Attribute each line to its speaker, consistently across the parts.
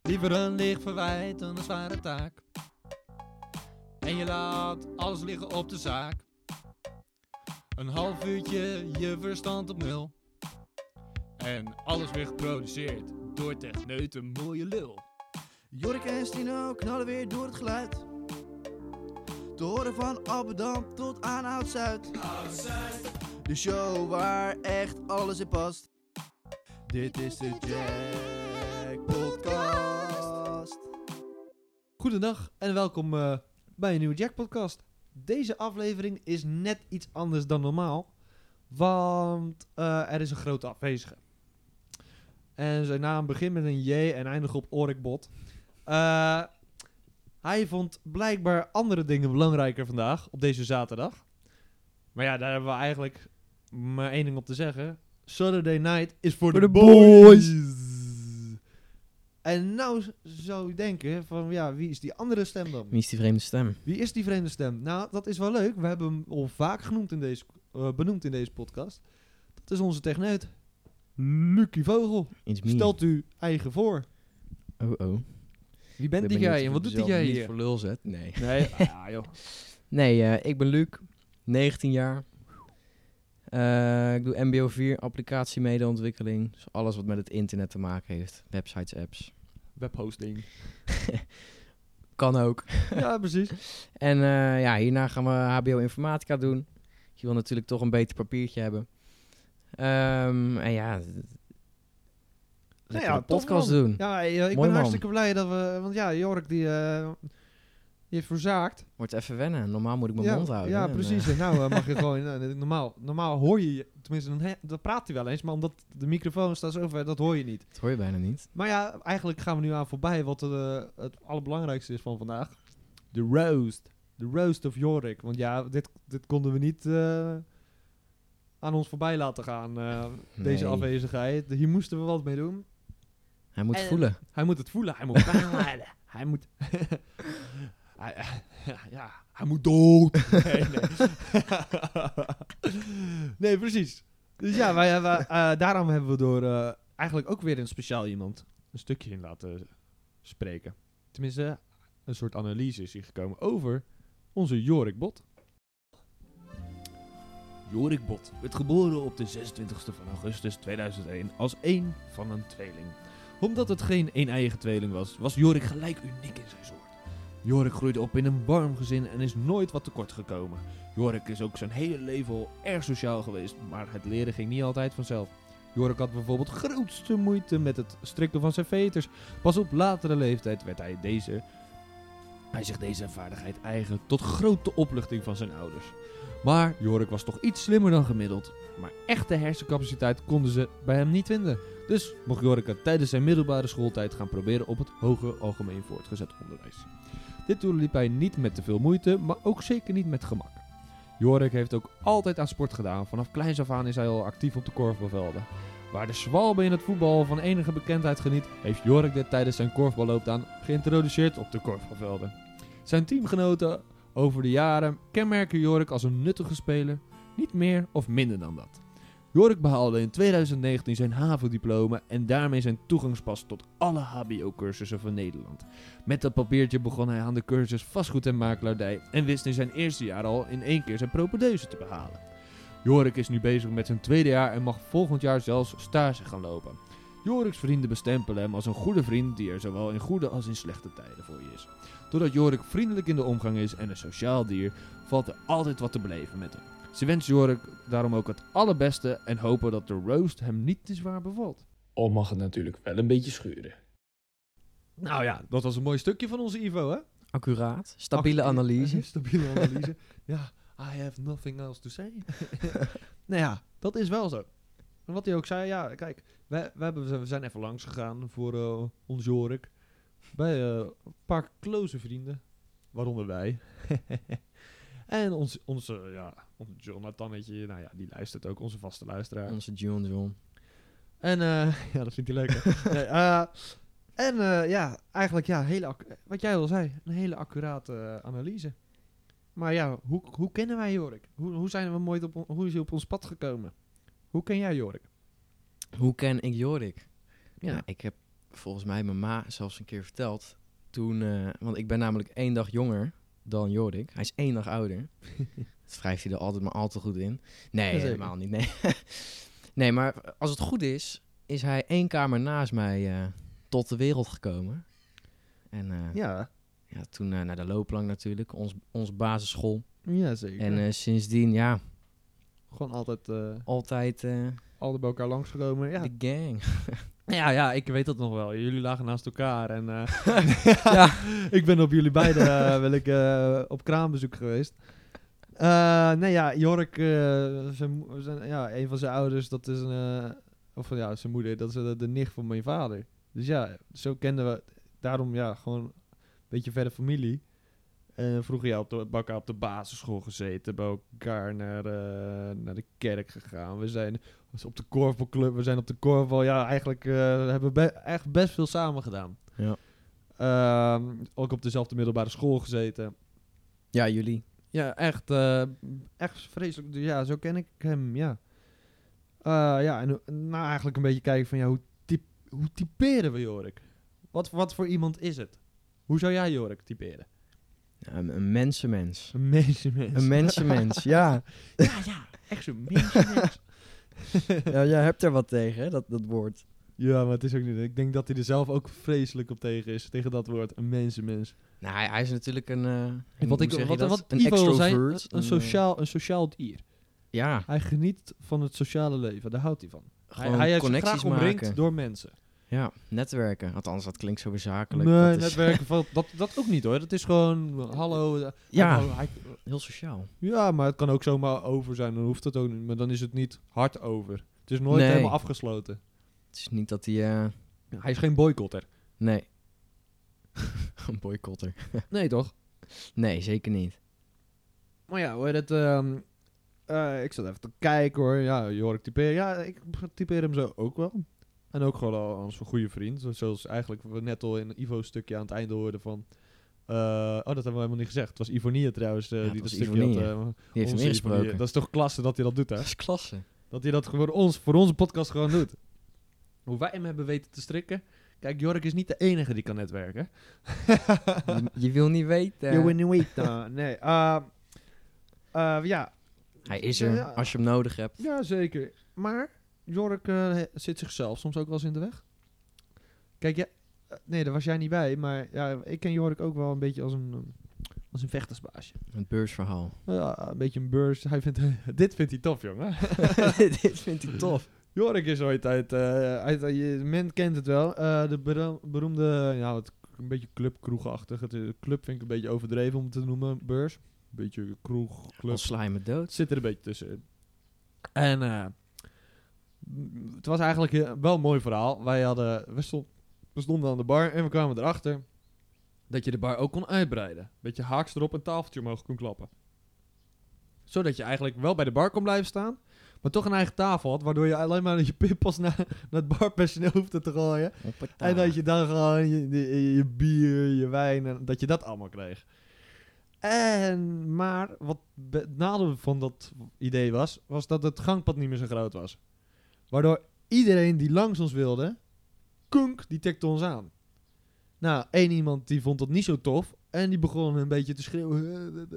Speaker 1: Liever een licht verwijt dan een zware taak. En je laat alles liggen op de zaak. Een half uurtje je verstand op nul. En alles weer geproduceerd door techneuten mooie lul.
Speaker 2: Jorik en Stino knallen weer door het geluid. Te horen van Abedam tot aan Oud-Zuid. De show waar echt alles in past. Dit is de Jack Podcast.
Speaker 3: Goedendag en welkom eh, bij een nieuwe Jack Podcast. Deze aflevering is net iets anders dan normaal, want eh, er is een grote afwezige. En zijn naam begint met een J en eindigt op Orikbot. Eh, hij vond blijkbaar andere dingen belangrijker vandaag, op deze zaterdag. Maar ja, daar hebben we eigenlijk maar één ding op te zeggen. Saturday night is voor de boys. En nou z- zou je denken van ja, wie is die andere stem dan?
Speaker 4: Wie is die vreemde stem?
Speaker 3: Wie is die vreemde stem? Nou, dat is wel leuk. We hebben hem al vaak genoemd in deze, eh, benoemd in deze podcast. Dat is onze techneut. Lucky Vogel.
Speaker 4: Iets meer.
Speaker 3: Stelt u eigen voor.
Speaker 4: Oh oh.
Speaker 3: Wie
Speaker 4: Ik
Speaker 3: bent
Speaker 4: ben
Speaker 3: die jij en
Speaker 4: benieuwd of
Speaker 3: wat
Speaker 4: ik
Speaker 3: doet die
Speaker 4: mezelf
Speaker 3: jij
Speaker 4: niet
Speaker 3: hier?
Speaker 4: voor lul zet. Nee. ah,
Speaker 3: Nee, ja, joh.
Speaker 4: Nee, eh, ik ben Luc, 19 jaar. Eh, ik doe MBO 4, applicatiemedeontwikkeling. Dus alles wat met het internet te maken heeft. Websites, apps.
Speaker 3: Webhosting.
Speaker 4: Kan ook.
Speaker 3: ja, precies.
Speaker 4: En eh, ja, hierna gaan we HBO informatica doen. Je wil natuurlijk toch een beter papiertje hebben. Ehm, en ja,
Speaker 3: Nou
Speaker 4: nou
Speaker 3: ja, tof,
Speaker 4: podcast
Speaker 3: man.
Speaker 4: doen.
Speaker 3: Ja, eh, ik
Speaker 4: Mooi
Speaker 3: ben
Speaker 4: man.
Speaker 3: hartstikke blij dat we... Want ja, Jork die, eh, die heeft verzaakt.
Speaker 4: Wordt even wennen. Normaal moet ik mijn
Speaker 3: ja,
Speaker 4: mond houden.
Speaker 3: Ja,
Speaker 4: En, eh,
Speaker 3: precies. En nou eh, mag je gewoon... nou, normaal, normaal hoor je... je- Tenminste, dan, he- dan praat hij wel eens. Maar omdat de microfoon staat zo ver, dat hoor je niet.
Speaker 4: dat hoor je bijna niet.
Speaker 3: Maar ja, eigenlijk gaan we nu aan voorbij wat eh, het allerbelangrijkste is van vandaag. De roast. De roast of Jorik. Want ja, dit, dit konden we niet eh, aan ons voorbij laten gaan, eh, deze
Speaker 4: Nee.
Speaker 3: afwezigheid. Hier moesten we wat mee doen.
Speaker 4: Hij moet
Speaker 3: En-
Speaker 4: voelen.
Speaker 3: Hij moet het voelen, hij moet praten. hij moet... hij, ja, hij moet dood. Nee, nee. nee, precies. Dus ja, wij, hebben, eh, daarom hebben we door eh, eigenlijk ook weer een speciaal iemand een stukje in laten spreken. Tenminste, een soort analyse is hier gekomen over onze Jorik Bot.
Speaker 1: Jorik Bot werd geboren op de 26e van augustus 2001 als één van een tweeling.
Speaker 3: Omdat het geen...
Speaker 1: geen een-eigen tweeling was, was Jorik gelijk uniek in zijn soort. Jorik groeide op in een warm gezin en is nooit wat tekort gekomen. Jorik is ook zijn hele leven al erg sociaal geweest, maar het leren ging niet altijd vanzelf.
Speaker 3: Jorik had bijvoorbeeld grootste moeite met het strikken van zijn veters. Pas op latere leeftijd werd hij deze
Speaker 1: Hij zich deze vaardigheid eigen tot grote opluchting van zijn ouders. Maar Jorik was toch iets slimmer dan gemiddeld. Maar echte hersencapaciteit konden ze bij hem niet vinden. Dus mocht Jorik het tijdens zijn middelbare schooltijd gaan proberen op het hoger algemeen voortgezet onderwijs. Dit doel liep hij niet met te veel moeite, maar ook zeker niet met gemak. Jorik heeft ook altijd aan sport gedaan. Vanaf kleins af aan is hij al actief op de korfbalvelden. Waar de zwalbe in het voetbal van enige bekendheid geniet, heeft Jorik dit tijdens zijn korfballoopbaan geïntroduceerd op de korfbalvelden. Zijn teamgenoten over de jaren kenmerken Jorik als een nuttige speler, niet meer of minder dan dat. Jorik behaalde in 2019 zijn HAVO-diploma en daarmee zijn toegangspas tot alle HBO-cursussen van Nederland. Met dat papiertje begon hij aan de cursus vastgoed en makelaardij en wist in zijn eerste jaar al in één keer zijn propedeuse te behalen. Jorik is nu bezig met zijn tweede jaar en mag volgend jaar zelfs stage gaan lopen. Jorik's vrienden bestempelen hem als een goede vriend die er zowel in goede als in slechte tijden voor je is. Doordat Jorik vriendelijk in de omgang is en een sociaal dier, valt er altijd wat te beleven met hem. Ze wensen Jorik daarom ook het allerbeste en hopen dat de roast hem niet te zwaar bevalt.
Speaker 5: Al mag het natuurlijk wel een beetje schuren.
Speaker 3: Nou ja, dat was een mooi stukje van onze Ivo, hè?
Speaker 4: Accuraat. Stabiele
Speaker 3: Ach, eh,
Speaker 4: analyse.
Speaker 3: Stabiele analyse. ja, I have nothing else to say. nou ja, dat is wel zo. En wat hij ook zei, ja, kijk, wij, wij hebben, we zijn even langs gegaan voor eh, ons Jorik. Bij eh, een paar close vrienden, waaronder wij. en ons, onze, ja, ons Jonathannetje, nou ja, die luistert ook, onze vaste luisteraar.
Speaker 4: Onze John John.
Speaker 3: En eh, ja, dat vindt hij leuk. hè? Nee, eh, en eh, ja, eigenlijk ja, hele accu- wat jij al zei, een hele accurate eh, analyse. Maar ja, hoe, hoe kennen wij Jorik? Hoe, hoe zijn we mooi op, on- hoe is hij op ons pad gekomen? Hoe ken jij Jorik?
Speaker 4: Hoe ken ik Jorik?
Speaker 3: Ja.
Speaker 4: Ja. ik heb volgens mij mijn ma zelfs een keer verteld. Toen, eh, want ik ben namelijk één dag jonger dan Jorik. Hij is één dag ouder. dat schrijft hij er altijd maar al te goed in. Nee,
Speaker 3: Jazeker.
Speaker 4: helemaal niet. Nee. nee, maar als het goed is, is hij één kamer naast mij eh, tot de wereld gekomen. En eh,
Speaker 3: Ja,
Speaker 4: ja, toen eh, naar de looplang natuurlijk, ons, ons basisschool.
Speaker 3: ja zeker.
Speaker 4: En eh, sindsdien, ja,
Speaker 3: Gewoon altijd eh
Speaker 4: altijd eh,
Speaker 3: al bij elkaar langsgekomen. Ja.
Speaker 4: de gang.
Speaker 3: ja, ja, ik weet dat nog wel. Jullie lagen naast elkaar. En eh, ja, ik ben op jullie beiden eh, ben ik, eh, op kraambezoek geweest. Eh, nee, ja, Jork, eh, zijn, mo- zijn, ja, een van zijn ouders, dat is een... eh, of ja, zijn moeder, dat is eh, de nicht van mijn vader. Dus ja, zo kenden we... Daarom, ja, gewoon een beetje verder familie. En vroeger ja, op de bakken op de basisschool gezeten, bij elkaar naar, eh, naar de kerk gegaan. We zijn dus op de korfbalclub, we zijn op de korfbal. Ja, eigenlijk eh, hebben we be- echt best veel samen gedaan.
Speaker 4: Ja.
Speaker 3: Ehm, ook op dezelfde middelbare school gezeten.
Speaker 4: Ja, jullie.
Speaker 3: Ja, echt, eh, echt vreselijk. Dus Ja, zo ken ik hem, ja. Eh, ja, en hoe- nou eigenlijk een beetje kijken van, ja, hoe, typ- hoe typeren we Jorik? Wat, wat voor iemand is het? Hoe zou jij Jorik typeren?
Speaker 4: Ja, een, een mensenmens.
Speaker 3: Een mensenmens.
Speaker 4: Een mensenmens, ja.
Speaker 3: ja, ja, echt zo'n mensenmens.
Speaker 4: ja. Jij hebt er wat tegen, hè, dat, dat woord.
Speaker 3: Ja, maar het is ook niet. Ik denk dat hij er zelf ook vreselijk op tegen is. Tegen dat woord. Een mensenmens.
Speaker 4: Nou, hij, hij is natuurlijk een... eh
Speaker 3: Wat,
Speaker 4: hoe
Speaker 3: ik,
Speaker 4: zeg je
Speaker 3: wat,
Speaker 4: dat?
Speaker 3: wat
Speaker 4: een
Speaker 3: Ivo wil
Speaker 4: extrovert.
Speaker 3: zijn, een, een
Speaker 4: eh,
Speaker 3: sociaal, een sociaal dier.
Speaker 4: ja,
Speaker 3: Hij geniet van het sociale leven. Daar houdt hij van. Hij,
Speaker 4: gewoon
Speaker 3: hij heeft zich
Speaker 4: connecties
Speaker 3: graag omringd
Speaker 4: maken.
Speaker 3: door mensen.
Speaker 4: Ja, netwerken. Althans, dat klinkt zo zakelijk.
Speaker 3: Nee,
Speaker 4: dat is
Speaker 3: netwerken valt dat, dat ook niet hoor. Dat is gewoon, hallo. eh,
Speaker 4: Ja.
Speaker 3: hallo, hij-
Speaker 4: heel sociaal.
Speaker 3: ja, maar het kan ook zomaar over zijn. Dan hoeft het ook niet. Maar dan is het niet hard over. Het is nooit
Speaker 4: Nee.
Speaker 3: helemaal afgesloten.
Speaker 4: Het is niet dat hij... eh,
Speaker 3: Hij is geen boycotter.
Speaker 4: nee. een boycotter.
Speaker 3: Nee toch?
Speaker 4: Nee, zeker niet.
Speaker 3: Maar ja, hoe heet het? ehm, eh, ik zat even te kijken hoor. Ja, Jorik typeer. Ja, ik typeer hem zo ook wel. En ook gewoon al als een goede vriend. Zo- Zoals eigenlijk we net al in Ivo's stukje aan het einde hoorden van... eh, oh, dat hebben we helemaal niet gezegd. Het was Ivonia trouwens eh,
Speaker 4: Ja, het
Speaker 3: die dat
Speaker 4: was
Speaker 3: stukje
Speaker 4: Ivonie,
Speaker 3: had. eh,
Speaker 4: Die heeft hem
Speaker 3: onze Ivonie.
Speaker 4: ingesproken.
Speaker 3: Dat is toch klasse dat hij dat doet, hè?
Speaker 4: Dat is klasse.
Speaker 3: Dat hij dat gewoon ons, voor onze podcast gewoon doet. Hoe wij hem hebben weten te strikken. Kijk, Jorik is niet de enige die kan netwerken.
Speaker 4: je, je wil niet weten.
Speaker 3: You win week. nee. ehm, eh, ja,
Speaker 4: Hij is er,
Speaker 3: Ja.
Speaker 4: als je hem nodig hebt.
Speaker 3: Ja, zeker. Maar Jorik eh, he- zit zichzelf soms ook wel eens in de weg. Kijk, ja, eh, nee, daar was jij niet bij. Maar ja, ik ken Jorik ook wel een beetje als een, eh, als een vechtersbaasje.
Speaker 4: Het beursverhaal.
Speaker 3: Ja, een beetje een beurs. Hij vindt, dit vindt hij tof, jongen.
Speaker 4: Dit vindt hij tof.
Speaker 3: Jorik is ooit uit... eh, uit eh, je, men kent het wel. eh, de bero- beroemde... Nou, het, een beetje clubkroegachtig. Het, eh, club vind ik een beetje overdreven om het te noemen. Beurs. Een beetje kroeg, club.
Speaker 4: Wat sla je me dood?
Speaker 3: Het zit er een beetje tussen. En eh, m- het was eigenlijk eh, wel een mooi verhaal. Wij hadden, we, stond- we stonden aan de bar en we kwamen erachter dat je de bar ook kon uitbreiden. Beetje haaks erop en tafeltje omhoog kon klappen. Zodat je eigenlijk wel bij de bar kon blijven staan, maar toch een eigen tafel had, waardoor je alleen maar je pinpas naar, naar het barpersoneel hoefde te gooien.
Speaker 4: Hoppata.
Speaker 3: En dat je dan gewoon je, je, je bier, je wijn, en dat je dat allemaal kreeg. En, maar wat be- het nadeel van dat idee was, was dat het gangpad niet meer zo groot was. Waardoor iedereen die langs ons wilde, kunk, die tikte ons aan. Nou, één iemand die vond dat niet zo tof en die begon een beetje te schreeuwen.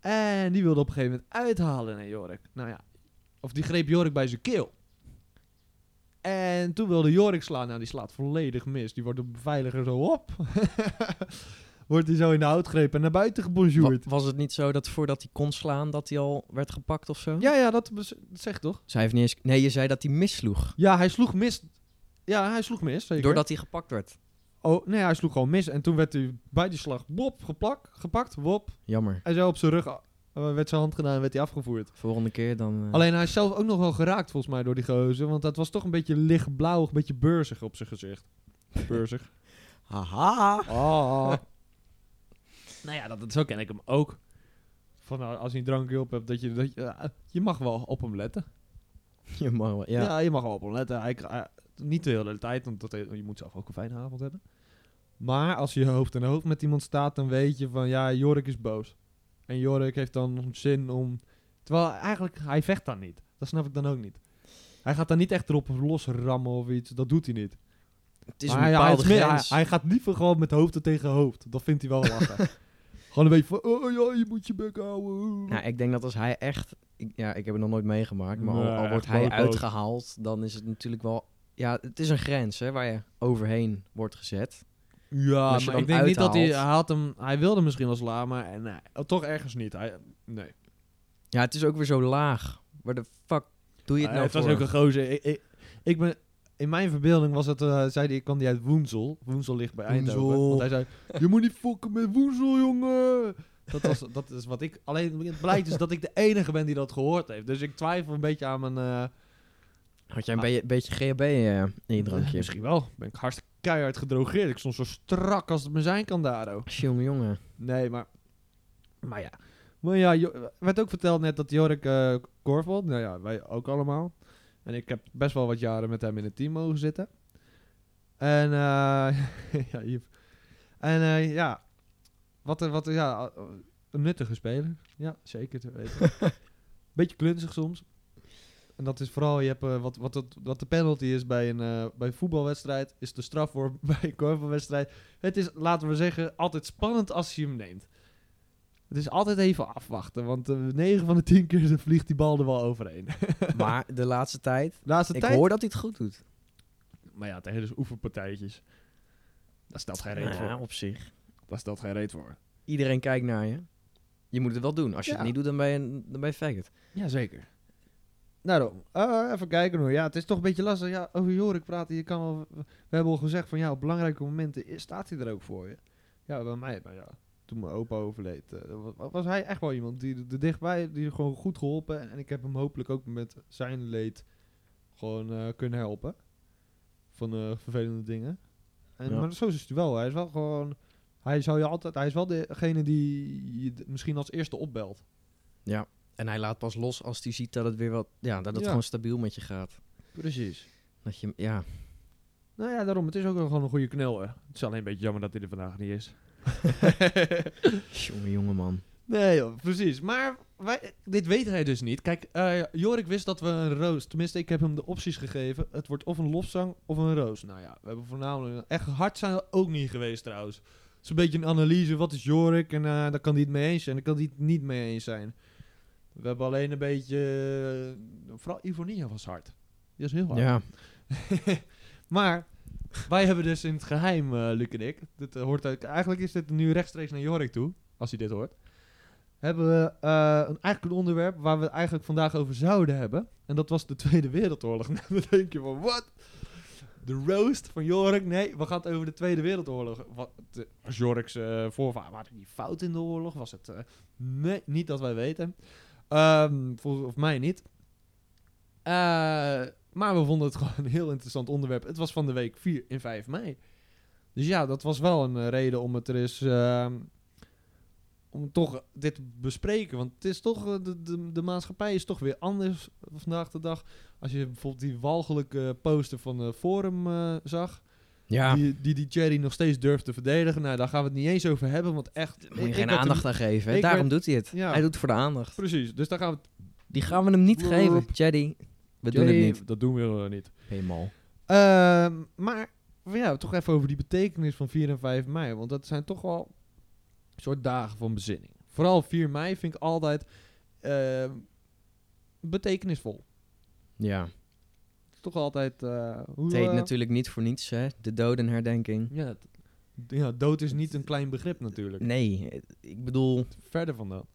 Speaker 3: En die wilde op een gegeven moment uithalen naar Jorik. Nou ja, of die greep Jorik bij zijn keel. En toen wilde Jorik slaan. Nou, die slaat volledig mis. Die wordt door de beveiliger zo op. wordt hij zo in de houtgreep en naar buiten
Speaker 4: Wa-
Speaker 3: gebonjourd.
Speaker 4: was het niet zo dat voordat hij kon slaan, dat hij al werd gepakt of zo?
Speaker 3: Ja, ja, dat, bes- dat zegt toch?
Speaker 4: Dus hij heeft niet eens... Nee, je zei dat hij missloeg.
Speaker 3: Ja, hij sloeg mis. Ja, hij sloeg mis. Zeker.
Speaker 4: Doordat hij gepakt werd.
Speaker 3: Oh, nee, hij sloeg gewoon mis. En toen werd hij bij die slag wop, geplakt, gepakt, wop.
Speaker 4: Jammer.
Speaker 3: En zo op zijn rug eh, werd zijn hand gedaan en werd hij afgevoerd.
Speaker 4: Volgende keer dan... eh,
Speaker 3: Alleen hij is zelf ook nog wel geraakt volgens mij door die gozer. Want dat was toch een beetje lichtblauw, een beetje beurzig op zijn gezicht. Beurzig.
Speaker 4: Haha.
Speaker 3: Ah. nou ja, dat, dat- zo ken ik hem ook. Van nou, als je een drankje op hebt, dat je, dat je, ja, je mag wel op hem letten.
Speaker 4: Je mag wel-
Speaker 3: Ja.
Speaker 4: ja.
Speaker 3: je mag wel op hem letten. Hij, hij- niet de hele tijd, want dat, je moet zelf ook een fijne avond hebben. Maar als je hoofd aan hoofd met iemand staat, dan weet je van ja, Jorik is boos. En Jorik heeft dan zin om. Terwijl eigenlijk, hij vecht dan niet. Dat snap ik dan ook niet. Hij gaat dan niet echt erop los rammen of iets. Dat doet hij niet.
Speaker 4: Het is
Speaker 3: Maar
Speaker 4: een
Speaker 3: ja, hij,
Speaker 4: bepaalde
Speaker 3: is meer- hij,
Speaker 4: grens.
Speaker 3: hij gaat liever gewoon met hoofd tegen hoofd. Dat vindt hij wel lachen. gewoon een beetje van, oh ja, je moet je bek houden.
Speaker 4: Nou, ik denk dat als hij echt... Ik, ja, ik heb het nog nooit meegemaakt, maar al,
Speaker 1: Nee,
Speaker 4: al wordt
Speaker 1: echt
Speaker 4: hij
Speaker 1: loco.
Speaker 4: uitgehaald, dan is het natuurlijk wel... Ja, het is een grens hè, waar je overheen wordt gezet.
Speaker 1: Ja,
Speaker 4: als je
Speaker 1: maar
Speaker 4: dan
Speaker 1: ik denk niet dat hij, hij had
Speaker 4: uithaalt.
Speaker 1: hem... Hij wilde misschien wel slaan, maar eh, nee,
Speaker 3: Oh,
Speaker 1: toch ergens niet. Hij, nee.
Speaker 4: Ja, het is ook weer zo laag. Waar de fuck doe je het
Speaker 1: Eh,
Speaker 4: nou
Speaker 1: het was
Speaker 4: voor?
Speaker 1: ook een gozer. Ik, ik,
Speaker 3: Ik ben, in mijn verbeelding was het, eh zei hij, ik kwam die uit Woensel. Woensel ligt bij Eindhoven.
Speaker 1: Woensel.
Speaker 3: Want hij zei, je moet niet fokken met Woensel, jongen. Dat, was, dat is wat ik... Alleen het blijkt dus dat ik de enige ben die dat gehoord heeft. Dus ik twijfel een beetje aan mijn... eh,
Speaker 4: Had jij een beetje- beetje GHB eh, in je drankje?
Speaker 1: misschien wel. Ben ik hartstikke keihard gedrogeerd. Ik stond zo strak als het me zijn kan daar, oh.
Speaker 4: Jongen, jongen.
Speaker 3: nee, maar... Maar ja. Maar ja, Jo- werd ook verteld net dat Jorik eh korfbalt. Nou ja, wij ook allemaal. En ik heb best wel wat jaren met hem in het team mogen zitten. En, eh ja, Joep. En eh, ja, wat, een- wat een- ja, eh, een nuttige speler. Ja, zeker te weten. Beetje klunzig soms. En dat is vooral, je hebt, eh, wat, wat, het- wat de penalty is bij een, eh, bij een voetbalwedstrijd, is de straf voor bij een korfbalwedstrijd. Het is, laten we zeggen, altijd spannend als je hem neemt. Het is altijd even afwachten, want eh, 9 van de 10 keer dan vliegt die bal er wel overheen.
Speaker 4: Maar de laatste tijd,
Speaker 3: Laatste
Speaker 4: ik
Speaker 3: tijd
Speaker 4: hoor dat hij het goed doet.
Speaker 1: Maar ja, tegen dus oefenpartijtjes. Daar stelt geen reet
Speaker 4: Nou Ja,
Speaker 1: voor.
Speaker 4: op zich.
Speaker 1: Daar stelt geen reet voor.
Speaker 4: Iedereen kijkt naar je. Je moet het wel doen. Als je
Speaker 3: Ja.
Speaker 4: het niet doet, dan ben je, een- dan ben je faggot.
Speaker 1: Jazeker.
Speaker 3: Nou, dan, eh, even kijken hoor. Ja, het is toch een beetje lastig. Ja, over Jorik praten, je kan wel... We hebben al gezegd van ja, op belangrijke momenten i- staat hij er ook voor je. Ja, bij mij, maar ja, toen mijn opa overleed, eh, wa- wa- was hij echt wel iemand die er dichtbij, die er gewoon goed geholpen. En ik heb hem hopelijk ook met zijn leed gewoon eh, kunnen helpen. Van eh, vervelende dingen. En,
Speaker 4: Ja.
Speaker 3: Maar zo is hij wel. Hij is wel gewoon... Hij, zou je altijd, hij is wel degene die je d- misschien als eerste opbelt.
Speaker 4: En hij laat pas los als hij ziet dat het weer wat... Ja, dat het
Speaker 3: Ja.
Speaker 4: gewoon stabiel met je gaat.
Speaker 3: Precies.
Speaker 4: Dat je, ja,
Speaker 3: Nou ja, daarom. Het is ook wel gewoon een goede knel. hè.
Speaker 1: Het is alleen een beetje jammer dat hij er vandaag niet is.
Speaker 4: jongen, jongen man.
Speaker 3: Nee joh.
Speaker 1: Precies, maar wij, dit weet hij dus niet. Kijk, eh, Jorik wist dat we een roos... Tenminste, ik heb hem de opties gegeven. Het wordt of een lofzang of een roos. Nou ja, we hebben voornamelijk... Echt hard zijn we ook niet geweest trouwens. Het is een beetje een analyse. Wat is Jorik? En eh daar kan hij het mee eens zijn. Daar kan hij het niet mee eens zijn. We hebben alleen een beetje... eh, vooral Ivonia was hard. Die was heel hard.
Speaker 4: Ja,
Speaker 1: Maar wij hebben dus in het geheim, eh Luc en ik, dit, eh, hoort uit, eigenlijk is dit nu rechtstreeks naar Jorik toe, als hij dit hoort.
Speaker 3: Hebben we eh, een, eigenlijk een onderwerp waar we het eigenlijk vandaag over zouden hebben. En dat was de Tweede Wereldoorlog. Nou, dan denk je van, wat?
Speaker 1: De roast van Jorik, nee, we gaan het over de Tweede Wereldoorlog. Wat, eh, was Jorik's eh voorvader, waren die fout in de oorlog? Was het, eh, nee, niet dat wij weten. Ehm volgens mij niet. Eh, maar we vonden het gewoon een heel interessant onderwerp. Het was van de week 4 en 5 mei. Dus ja, dat was wel een eh, reden om het er eens... ehm, om toch dit te bespreken. Want het is toch, eh, de, de, de maatschappij is toch weer anders vandaag de dag. Als je bijvoorbeeld die walgelijke poster van eh, Forum eh, zag.
Speaker 4: ja.
Speaker 1: Die, die die Thierry nog steeds durft te verdedigen. Nou, daar gaan we het niet eens over hebben. Want echt...
Speaker 4: Daar moet je
Speaker 1: ik- ik
Speaker 4: geen
Speaker 1: werd
Speaker 4: aandacht
Speaker 1: er-
Speaker 4: aan geven. hè.
Speaker 1: ik
Speaker 4: Daarom
Speaker 1: werd-
Speaker 4: doet hij het.
Speaker 1: Ja.
Speaker 4: Hij doet het voor de aandacht.
Speaker 1: Precies, dus daar gaan we het...
Speaker 4: Die gaan we hem niet
Speaker 1: Brrr.
Speaker 4: geven. Jaddy, we doen het
Speaker 1: Thierry,
Speaker 4: niet.
Speaker 1: Dat doen we eh, niet.
Speaker 4: Helemaal.
Speaker 3: Ehm, maar ja, toch even over die betekenis van 4 en 5 mei. Want dat zijn toch wel
Speaker 1: Een soort dagen van bezinning. Vooral 4 mei vind ik altijd eh,
Speaker 3: ehm,
Speaker 1: betekenisvol.
Speaker 4: Ja.
Speaker 3: toch altijd... eh, hoe,
Speaker 4: Het heet
Speaker 3: eh,
Speaker 4: natuurlijk niet voor niets, hè. De dodenherdenking.
Speaker 1: Ja, het- ja, dood is niet een klein begrip natuurlijk.
Speaker 4: Nee, eh, ik bedoel...
Speaker 1: Verder van dat.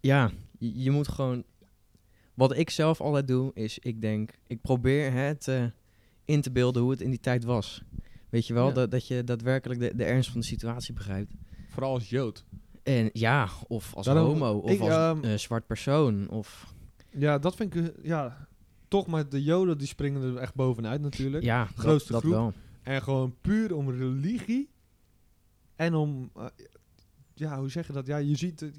Speaker 4: Ja, je, je moet gewoon... Wat ik zelf altijd doe, is ik denk... Ik probeer hè, te, in te beelden hoe het in die tijd was. Weet je wel,
Speaker 1: Ja.
Speaker 4: dat, dat je daadwerkelijk de, de ernst van de situatie begrijpt.
Speaker 1: Vooral als Jood.
Speaker 4: En ja, of als
Speaker 3: Daarom-
Speaker 4: homo, of
Speaker 3: ik,
Speaker 4: als
Speaker 3: ehm,
Speaker 4: eh, zwart persoon, of...
Speaker 3: Ja, dat vind ik... eh, Ja, toch, maar de joden die springen er echt bovenuit natuurlijk.
Speaker 4: Ja, dat-
Speaker 3: grootste
Speaker 4: dat,
Speaker 3: groep.
Speaker 4: wel.
Speaker 3: En gewoon puur om religie. En om... eh, ja, hoe zeg je dat? Ja, je ziet... het-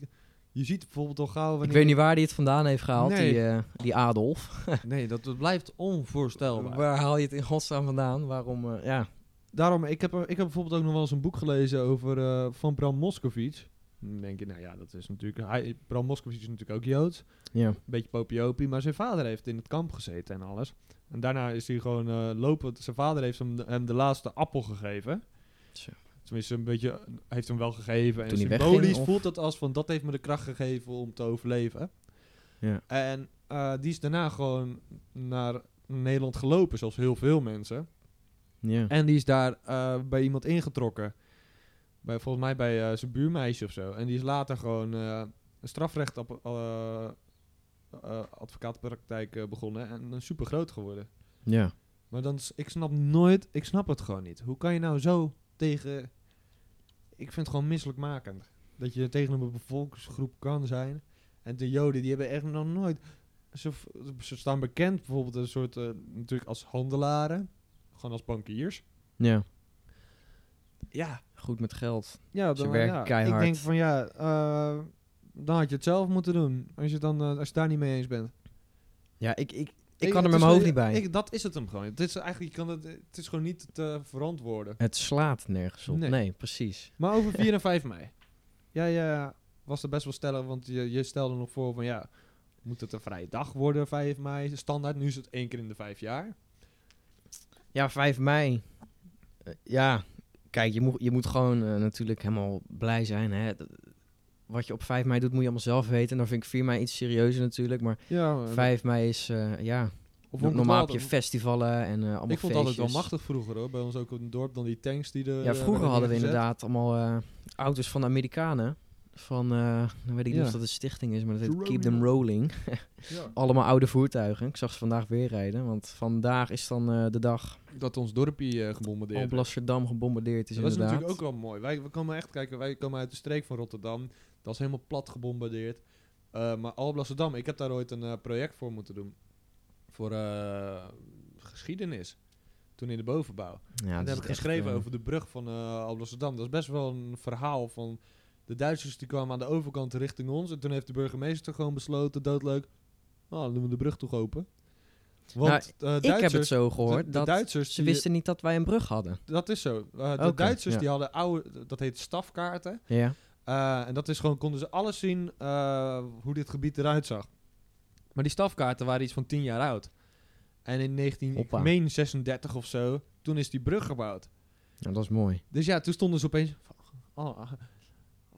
Speaker 3: Je ziet bijvoorbeeld al gauw wanneer...
Speaker 4: Ik weet niet waar hij het vandaan heeft gehaald,
Speaker 3: Nee.
Speaker 4: die, eh, die Adolf.
Speaker 3: Nee, dat, dat blijft onvoorstelbaar.
Speaker 4: Waar haal je het in godsnaam vandaan? Waarom? eh, ja.
Speaker 3: Daarom, ik heb, er- ik heb bijvoorbeeld ook nog wel eens een boek gelezen over eh, van Bram Moskowitz. Dan denk je, nou ja, dat is natuurlijk... Hij, Bram Moskowitz is natuurlijk ook Joods.
Speaker 4: ja.
Speaker 3: Een beetje popiopie, maar zijn vader heeft in het kamp gezeten en alles. En daarna is hij gewoon eh, lopen. Zijn vader heeft hem de, hem de laatste appel gegeven.
Speaker 4: Zo.
Speaker 3: Tenminste, een beetje eh, heeft hem wel gegeven. En
Speaker 4: Toen hij
Speaker 3: symbolisch
Speaker 4: wegging, of?
Speaker 3: voelt dat als van dat heeft me de kracht gegeven om te overleven.
Speaker 4: Ja.
Speaker 3: En eh, die is daarna gewoon naar Nederland gelopen, zoals heel veel mensen.
Speaker 4: Ja.
Speaker 3: En die is daar eh, bij iemand ingetrokken. Bij, volgens mij bij eh, zijn buurmeisje of zo. En die is later gewoon eh, een strafrecht op, eh, eh, advocaatpraktijk eh, begonnen. En super groot geworden.
Speaker 4: ja.
Speaker 3: Maar dan, s- ik snap nooit, ik snap het gewoon niet. Hoe kan je nou zo tegen, ik vind het gewoon misselijkmakend. Dat je tegen een bevolkingsgroep kan zijn. En de joden, die hebben echt nog nooit, ze, v- ze staan bekend bijvoorbeeld een soort, eh, natuurlijk als handelaren. Gewoon als bankiers.
Speaker 4: Ja.
Speaker 3: Ja,
Speaker 4: Goed met geld.
Speaker 3: Ja,
Speaker 4: Ze
Speaker 3: dan, eh,
Speaker 4: werken
Speaker 3: ja.
Speaker 4: Dus keihard.
Speaker 3: Ik denk van ja, eh, dan had je het zelf moeten doen. Als je, dan, eh, als je daar niet mee eens bent.
Speaker 4: Ja, ik, ik, ik kan er
Speaker 3: het
Speaker 4: met
Speaker 3: is
Speaker 4: mijn hoofd
Speaker 3: gewoon-
Speaker 4: niet bij.
Speaker 3: Ik, dat is het hem gewoon. Het is, eigenlijk, je kan het, het is gewoon niet te verantwoorden.
Speaker 4: Het slaat nergens op.
Speaker 3: Nee.
Speaker 4: Nee, precies.
Speaker 3: Maar over 4 en 5 mei. Ja, ja, was er best wel stellig, want je, je stelde nog voor van ja, moet het een vrije dag worden, 5 mei, standaard. Nu is het één keer in de vijf jaar.
Speaker 4: Ja, 5 mei. Eh, ja, kijk, je moet, je moet gewoon eh, natuurlijk helemaal blij zijn. Hè? Dat- Wat je op 5 mei doet, moet je allemaal zelf weten. En dan vind ik 4 mei iets serieuzer natuurlijk. Maar
Speaker 3: Ja, maar-
Speaker 4: 5 mei is, eh, ja,
Speaker 3: of vond ik het
Speaker 4: normaal heb
Speaker 3: altijd-
Speaker 4: je festivalen en eh allemaal
Speaker 3: Ik vond het altijd wel
Speaker 4: feestjes.
Speaker 3: machtig eh, vroeger hoor, bij ons ook op het dorp, dan die tanks die de...
Speaker 4: Ja, vroeger hadden we inderdaad allemaal eh, auto's van de Amerikanen. Van, eh dan weet ik niet
Speaker 3: Ja.
Speaker 4: of dat een stichting is, maar dat heet
Speaker 3: Rolling
Speaker 4: Keep Them
Speaker 3: Up.
Speaker 4: Rolling.
Speaker 3: Ja.
Speaker 4: Allemaal oude voertuigen. Ik zag ze vandaag weer rijden, want vandaag is dan eh, de dag
Speaker 3: Dat ons dorpje eh gebombardeerd
Speaker 4: op Amsterdam gebombardeerd is
Speaker 3: dat is
Speaker 4: inderdaad.
Speaker 3: natuurlijk ook wel mooi. Wij we komen echt kijken, wij komen uit de streek van Rotterdam. Dat is helemaal plat gebombardeerd. Eh, maar Alblasserdam, ik heb daar ooit een eh, project voor moeten doen. Voor eh, geschiedenis. Toen in de bovenbouw. en
Speaker 4: Ja, dat
Speaker 3: daar
Speaker 4: is
Speaker 3: heb ik
Speaker 4: echt,
Speaker 3: geschreven
Speaker 4: eh,
Speaker 3: over de brug van eh Alblasserdam. Dat is best wel een verhaal van... De Duitsers die kwamen aan de overkant richting ons. En toen heeft de burgemeester gewoon besloten, doodleuk... Nou, dan doen we de brug toch open. Want eh,
Speaker 4: Nou, Ik heb het
Speaker 3: Duitsers-
Speaker 4: zo
Speaker 3: de-
Speaker 4: gehoord,
Speaker 3: de
Speaker 4: dat
Speaker 3: Duitsers
Speaker 4: ze
Speaker 3: die-
Speaker 4: wisten niet dat wij een brug hadden.
Speaker 3: dat is zo. Eh, de
Speaker 4: Oké,
Speaker 3: Duitsers
Speaker 4: ja.
Speaker 3: die hadden oude, dat heet stafkaarten.
Speaker 4: Ja,
Speaker 3: Eh, en dat is gewoon, konden ze alles zien eh, hoe dit gebied eruit zag. Maar die stafkaarten waren iets van 10 jaar oud. En in
Speaker 4: Hoppa.
Speaker 3: 1936 of zo, toen is die brug gebouwd.
Speaker 4: nou, dat is mooi.
Speaker 3: Dus ja, toen stonden ze opeens... van, Oh,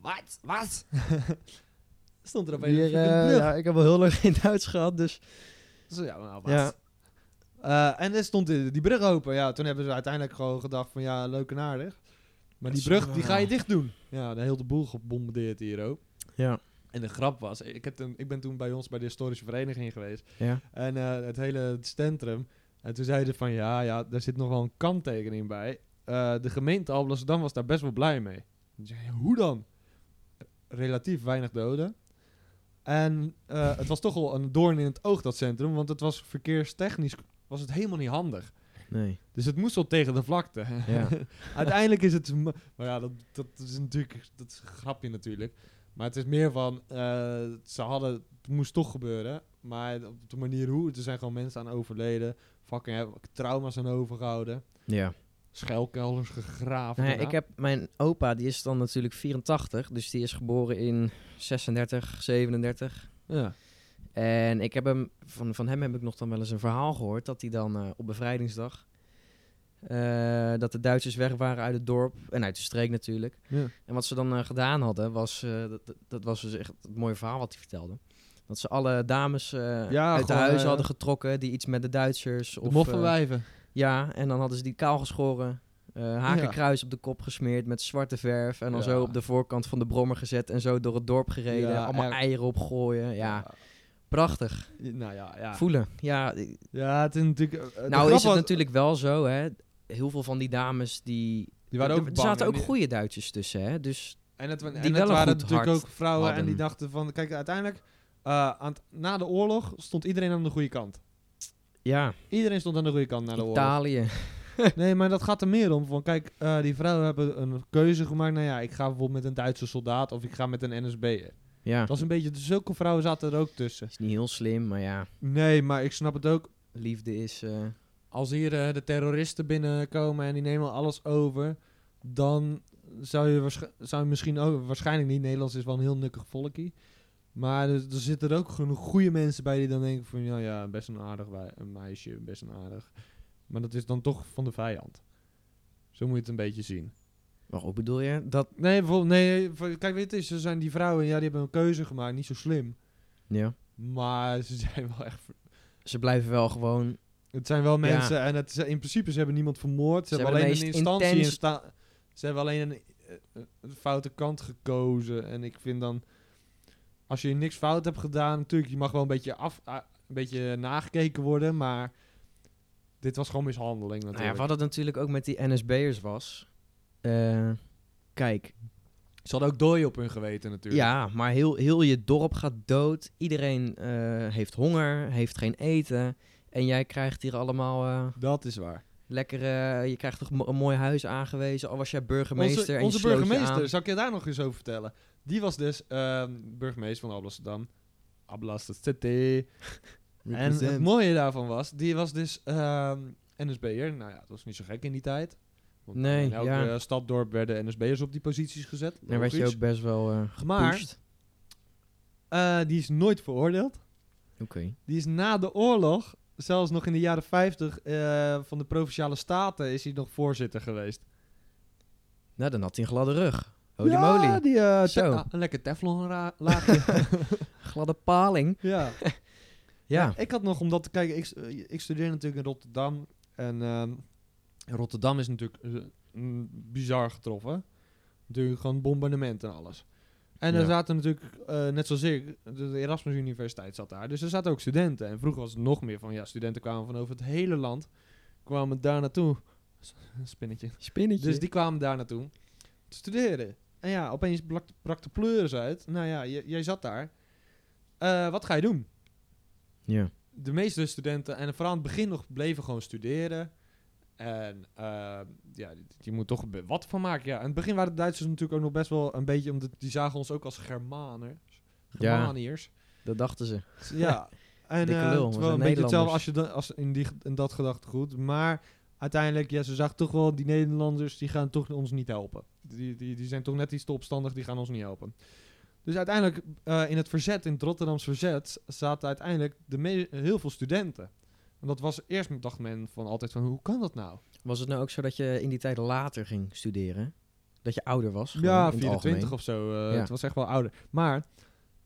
Speaker 3: wat? Wat? Stond er opeens een fucking brug.
Speaker 4: eh, ja, ik heb wel heel lang geen Duits gehad, dus...
Speaker 3: Zo, ja, nou, wat?
Speaker 4: Ja.
Speaker 3: Eh, en er stond die, die brug open. Ja, toen hebben ze uiteindelijk gewoon gedacht van ja, leuk en aardig. Maar die
Speaker 4: Zo,
Speaker 3: brug, die ga je
Speaker 4: ja.
Speaker 3: dicht doen. Ja, de hele boel gebombardeerd hier ook.
Speaker 4: Ja,
Speaker 3: En de grap was, ik, heb toen, ik ben toen bij ons bij de historische vereniging geweest.
Speaker 4: ja.
Speaker 3: En eh, het hele centrum. En toen zeiden ze van, ja, ja, daar zit nog wel een kanttekening bij. Eh, de gemeente Alblasserdam was daar best wel blij mee. Ik zei, Hoe dan? Relatief weinig doden. En eh, het was toch wel een doorn in het oog, dat centrum. Want het was verkeerstechnisch was het helemaal niet handig.
Speaker 4: Nee,
Speaker 3: Dus het moest wel tegen de vlakte.
Speaker 4: ja.
Speaker 3: Uiteindelijk is het. ma- Maar ja, dat, dat is natuurlijk. Dat is een grapje natuurlijk. Maar het is meer van. eh, ze hadden. Het moest toch gebeuren. Maar op de manier hoe. Er zijn gewoon mensen aan overleden. Fucking eh, trauma's aan overgehouden.
Speaker 4: ja.
Speaker 3: Schuilkelders gegraven.
Speaker 4: Nou ja,
Speaker 3: daarna.
Speaker 4: ik heb mijn opa, die is dan natuurlijk 84, dus die is geboren in 36, 37.
Speaker 3: Ja.
Speaker 4: En ik heb hem, van, van hem heb ik nog dan wel eens een verhaal gehoord dat hij dan eh, op bevrijdingsdag, eh, dat de Duitsers weg waren uit het dorp en uit de streek natuurlijk.
Speaker 3: Ja.
Speaker 4: En wat ze dan eh, gedaan hadden, was, eh, dat, dat- dat was dus echt het mooie verhaal wat hij vertelde. Dat ze alle dames eh,
Speaker 3: Ja,
Speaker 4: uit de
Speaker 3: gewoon,
Speaker 4: huizen
Speaker 3: eh,
Speaker 4: hadden getrokken die iets met de Duitsers
Speaker 3: De
Speaker 4: of eh,
Speaker 3: moffenwijven.
Speaker 4: ja, en dan hadden ze die kaal geschoren. eh, hakenkruis op de kop gesmeerd met zwarte verf. En dan
Speaker 3: Ja.
Speaker 4: zo op de voorkant van de brommer gezet. En zo door het dorp gereden.
Speaker 3: Ja,
Speaker 4: allemaal
Speaker 3: echt.
Speaker 4: eieren opgooien. Ja, prachtig.
Speaker 3: Ja, Nou ja, ja.
Speaker 4: Voelen. Ja, i-
Speaker 3: Ja, het is natuurlijk. eh, de grap
Speaker 4: nou is het
Speaker 3: was-
Speaker 4: natuurlijk wel zo, hè. Heel veel van die dames die...
Speaker 3: Die waren
Speaker 4: er-
Speaker 3: ook
Speaker 4: er
Speaker 3: bang,
Speaker 4: zaten
Speaker 3: hè,
Speaker 4: ook
Speaker 3: die-
Speaker 4: goede Duitsers tussen, hè. Dus
Speaker 3: En het, wa-
Speaker 4: die
Speaker 3: en het
Speaker 4: wel een
Speaker 3: waren
Speaker 4: goed
Speaker 3: natuurlijk
Speaker 4: hart
Speaker 3: ook vrouwen en die
Speaker 4: hadden.
Speaker 3: dachten van... Kijk, uiteindelijk, eh, aan het- na de oorlog stond iedereen aan de goede kant.
Speaker 4: ja,
Speaker 3: Iedereen stond aan de goede kant na de oorlog.
Speaker 4: Italië.
Speaker 3: Nee, maar dat gaat er meer om. Van, kijk, eh, die vrouwen hebben een keuze gemaakt. Nou ja, ik ga bijvoorbeeld met een Duitse soldaat of ik ga met een NSB'er.
Speaker 4: Ja,
Speaker 3: Dat is een beetje... Zulke vrouwen zaten er ook tussen.
Speaker 4: is niet heel slim, maar ja.
Speaker 3: Nee, maar ik snap het ook.
Speaker 4: Liefde is... eh,
Speaker 3: Als hier eh, de terroristen binnenkomen en die nemen alles over... Dan zou je, waarsch- zou je misschien ook... Waarschijnlijk niet. Nederlands is wel een heel nukkig volkie. Maar er, er zitten er ook genoeg goede mensen bij die dan denken van... Ja, ja, best een aardig wei- een meisje, best een aardig... Maar dat is dan toch van de vijand. Zo moet je het een beetje zien.
Speaker 4: Waarop bedoel je? Dat,
Speaker 3: Nee, bijvoorbeeld, nee, voor- kijk, weet je, ze zijn die vrouwen, ja, die hebben een keuze gemaakt, niet zo slim.
Speaker 4: ja.
Speaker 3: Maar ze zijn wel echt. ver-
Speaker 4: Ze blijven wel gewoon...
Speaker 3: Het zijn wel mensen en het, ze- in principe, ze hebben niemand vermoord. Ze,
Speaker 4: Ze
Speaker 3: hebben
Speaker 4: hebben
Speaker 3: alleen
Speaker 4: de
Speaker 3: een
Speaker 4: meest
Speaker 3: instantie
Speaker 4: intense-
Speaker 3: in sta- Ze hebben alleen een, eh, eh, een foute kant gekozen. En ik vind dan, als je niks fout hebt gedaan, natuurlijk, je mag wel een beetje, af, ah, een beetje nagekeken worden, maar dit was gewoon mishandeling
Speaker 4: Nou ja,
Speaker 3: natuurlijk.
Speaker 4: wat het natuurlijk ook met die NSB'ers was... eh, kijk,
Speaker 3: Ze hadden ook dooi op hun geweten natuurlijk.
Speaker 4: Ja, maar heel, heel je dorp gaat dood. Iedereen eh, heeft honger, heeft geen eten. En jij krijgt hier allemaal eh
Speaker 3: Dat is waar.
Speaker 4: lekkere... eh, Je krijgt toch mo- een mooi huis aangewezen. Al was jij burgemeester
Speaker 3: onze,
Speaker 4: en je
Speaker 3: onze
Speaker 4: sloot je
Speaker 3: burgemeester,
Speaker 4: aan.
Speaker 3: zal ik je daar nog eens over vertellen? Die was dus ehm, burgemeester van Amsterdam. Amsterdam City. En het mooie daarvan was, die was dus ehm, NSB'er. Nou ja, het was niet zo gek in die tijd. Want
Speaker 4: Nee,
Speaker 3: in elke
Speaker 4: ja.
Speaker 3: eh, stad, dorp werden NSB'ers op die posities gezet.
Speaker 4: Daar werd je
Speaker 3: Logisch.
Speaker 4: ook best wel eh
Speaker 3: Maar
Speaker 4: gepusht.
Speaker 3: eh, die is nooit veroordeeld.
Speaker 4: Oké.
Speaker 3: Die is na de oorlog, zelfs nog in de jaren 50 eh, van de Provinciale Staten, is hij nog voorzitter geweest.
Speaker 4: Nou, dan had hij een gladde rug. Holy
Speaker 3: ja,
Speaker 4: moly.
Speaker 3: Die, eh, te-
Speaker 4: Zo.
Speaker 3: ah, een lekker teflon ra- laagje.
Speaker 4: Gladde paling.
Speaker 3: ja.
Speaker 4: Ja.
Speaker 3: Ik had nog, omdat, kijk, ik, s- eh, ik studeer natuurlijk in Rotterdam. En ehm, Rotterdam is natuurlijk eh, mm, bizar getroffen. Natuurlijk gewoon bombardement en alles. En
Speaker 4: Ja.
Speaker 3: er zaten natuurlijk, eh, net zoals ik, de- de Erasmus Universiteit zat daar. Dus er zaten ook studenten. En vroeger was het nog meer van, ja, studenten kwamen van over het hele land. Kwamen daar naartoe. S- Spinnetje.
Speaker 4: Spinnetje.
Speaker 3: Dus die kwamen daar naartoe te studeren. En ja, opeens blak- brak de pleuris uit. Nou ja, j- jij zat daar. Eh, wat ga je doen?
Speaker 4: Ja.
Speaker 3: de meeste studenten, en vooral aan het begin nog, bleven gewoon studeren. En eh, ja, je moet toch be- wat van maken. Ja, in het begin waren de Duitsers natuurlijk ook nog best wel een beetje, omdat die zagen ons ook als Germanen.
Speaker 4: ja,
Speaker 3: Germaniërs.
Speaker 4: dat dachten ze.
Speaker 3: Ja. En
Speaker 4: Dikke
Speaker 3: eh,
Speaker 4: lul, we
Speaker 3: het is
Speaker 4: zijn
Speaker 3: wel een beetje hetzelfde
Speaker 4: Nederlanders.
Speaker 3: als, je dan- als in, die, ge- in dat gedachtegoed. Maar uiteindelijk, ja, ze zag toch wel, die Nederlanders, die gaan toch ons niet helpen. Die, die, die zijn toch net iets te opstandig, die gaan ons niet helpen. Dus uiteindelijk, eh, in het verzet, in het Rotterdams verzet, zaten uiteindelijk de me- heel veel studenten. En dat was eerst, dacht men van altijd van, hoe kan dat nou?
Speaker 4: Was het nou ook zo dat je in die tijd later ging studeren? Dat je ouder was? gewoon, in
Speaker 3: ja,
Speaker 4: het
Speaker 3: 24
Speaker 4: algemeen?
Speaker 3: of zo. eh,
Speaker 4: Ja.
Speaker 3: Het was echt wel ouder. Maar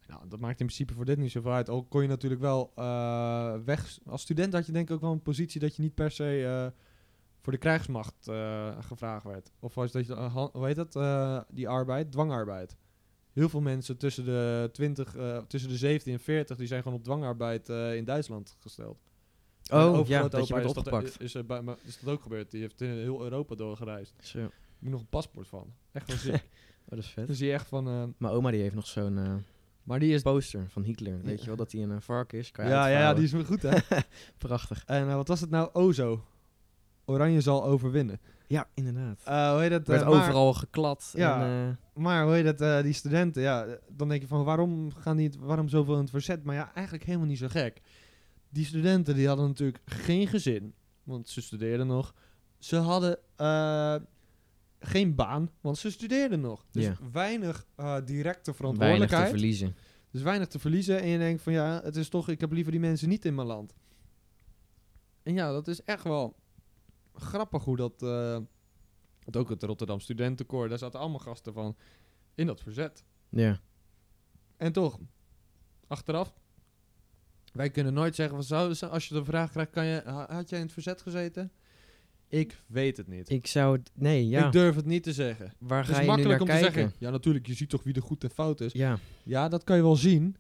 Speaker 3: nou, dat maakt in principe voor dit niet zoveel uit. Al kon je natuurlijk wel eh, weg. Als student had je denk ik ook wel een positie dat je niet per se eh, voor de krijgsmacht eh, gevraagd werd. Of was dat je, eh, han- hoe heet dat? eh, die arbeid, dwangarbeid. Heel veel mensen tussen de, 20, eh, tussen de 17 en 40 die zijn gewoon op dwangarbeid eh, in Duitsland gesteld. Mijn
Speaker 4: Oh, ja,
Speaker 3: overgrote
Speaker 4: dat je
Speaker 3: opa
Speaker 4: werd
Speaker 3: is dat-
Speaker 4: opgepakt.
Speaker 3: Is, er bij- maar is dat ook gebeurd? Die heeft in heel Europa doorgereisd.
Speaker 4: Zo. Oh,
Speaker 3: Ik heb nog een paspoort van. Echt wel ziek.
Speaker 4: dat is vet.
Speaker 3: dus die echt van... eh,
Speaker 4: Mijn oma die heeft nog zo'n eh,
Speaker 3: Maar die is...
Speaker 4: poster van Hitler. Weet je wel dat hij een eh, varken is? Kan je
Speaker 3: Ja, ja, ja,
Speaker 4: uitvouwen.
Speaker 3: die is weer goed, hè?
Speaker 4: prachtig.
Speaker 3: en eh, wat was het nou? Ozo. Oranje zal overwinnen.
Speaker 4: Ja, inderdaad.
Speaker 3: Eh, hoe heet dat?
Speaker 4: Er werd
Speaker 3: eh, maar,
Speaker 4: overal geklad.
Speaker 3: Ja.
Speaker 4: En, eh,
Speaker 3: maar hoe heet dat? eh, die studenten, ja. eh, Dan denk je van, waarom gaan die het, waarom zoveel in het verzet? Maar ja, eigenlijk helemaal niet zo gek. Die studenten, die hadden natuurlijk geen gezin. Want ze studeerden nog. Ze hadden eh, geen baan, want ze studeerden nog. Dus
Speaker 4: Ja.
Speaker 3: weinig eh, directe
Speaker 4: weinig te
Speaker 3: verantwoordelijkheid.
Speaker 4: verliezen.
Speaker 3: Dus weinig te verliezen. En je denkt van ja, het is toch, ik heb liever die mensen niet in mijn land. En ja, dat is echt wel grappig hoe dat. eh, want ook het Rotterdam Studentenkoor, daar zaten allemaal gasten van in dat verzet.
Speaker 4: Ja.
Speaker 3: En toch, achteraf, wij kunnen nooit zeggen, van, zou, zou- als je de vraag krijgt, kan je, ha- had jij in het verzet gezeten? Ik weet het niet.
Speaker 4: Ik zou... het- Nee, ja.
Speaker 3: Ik durf het niet te zeggen.
Speaker 4: Waar
Speaker 3: Het
Speaker 4: ga
Speaker 3: is
Speaker 4: je nu naar
Speaker 3: makkelijk om
Speaker 4: kijken?
Speaker 3: te zeggen, ja natuurlijk, je ziet toch wie de goed en fout is.
Speaker 4: Ja,
Speaker 3: Ja, dat kan je wel zien.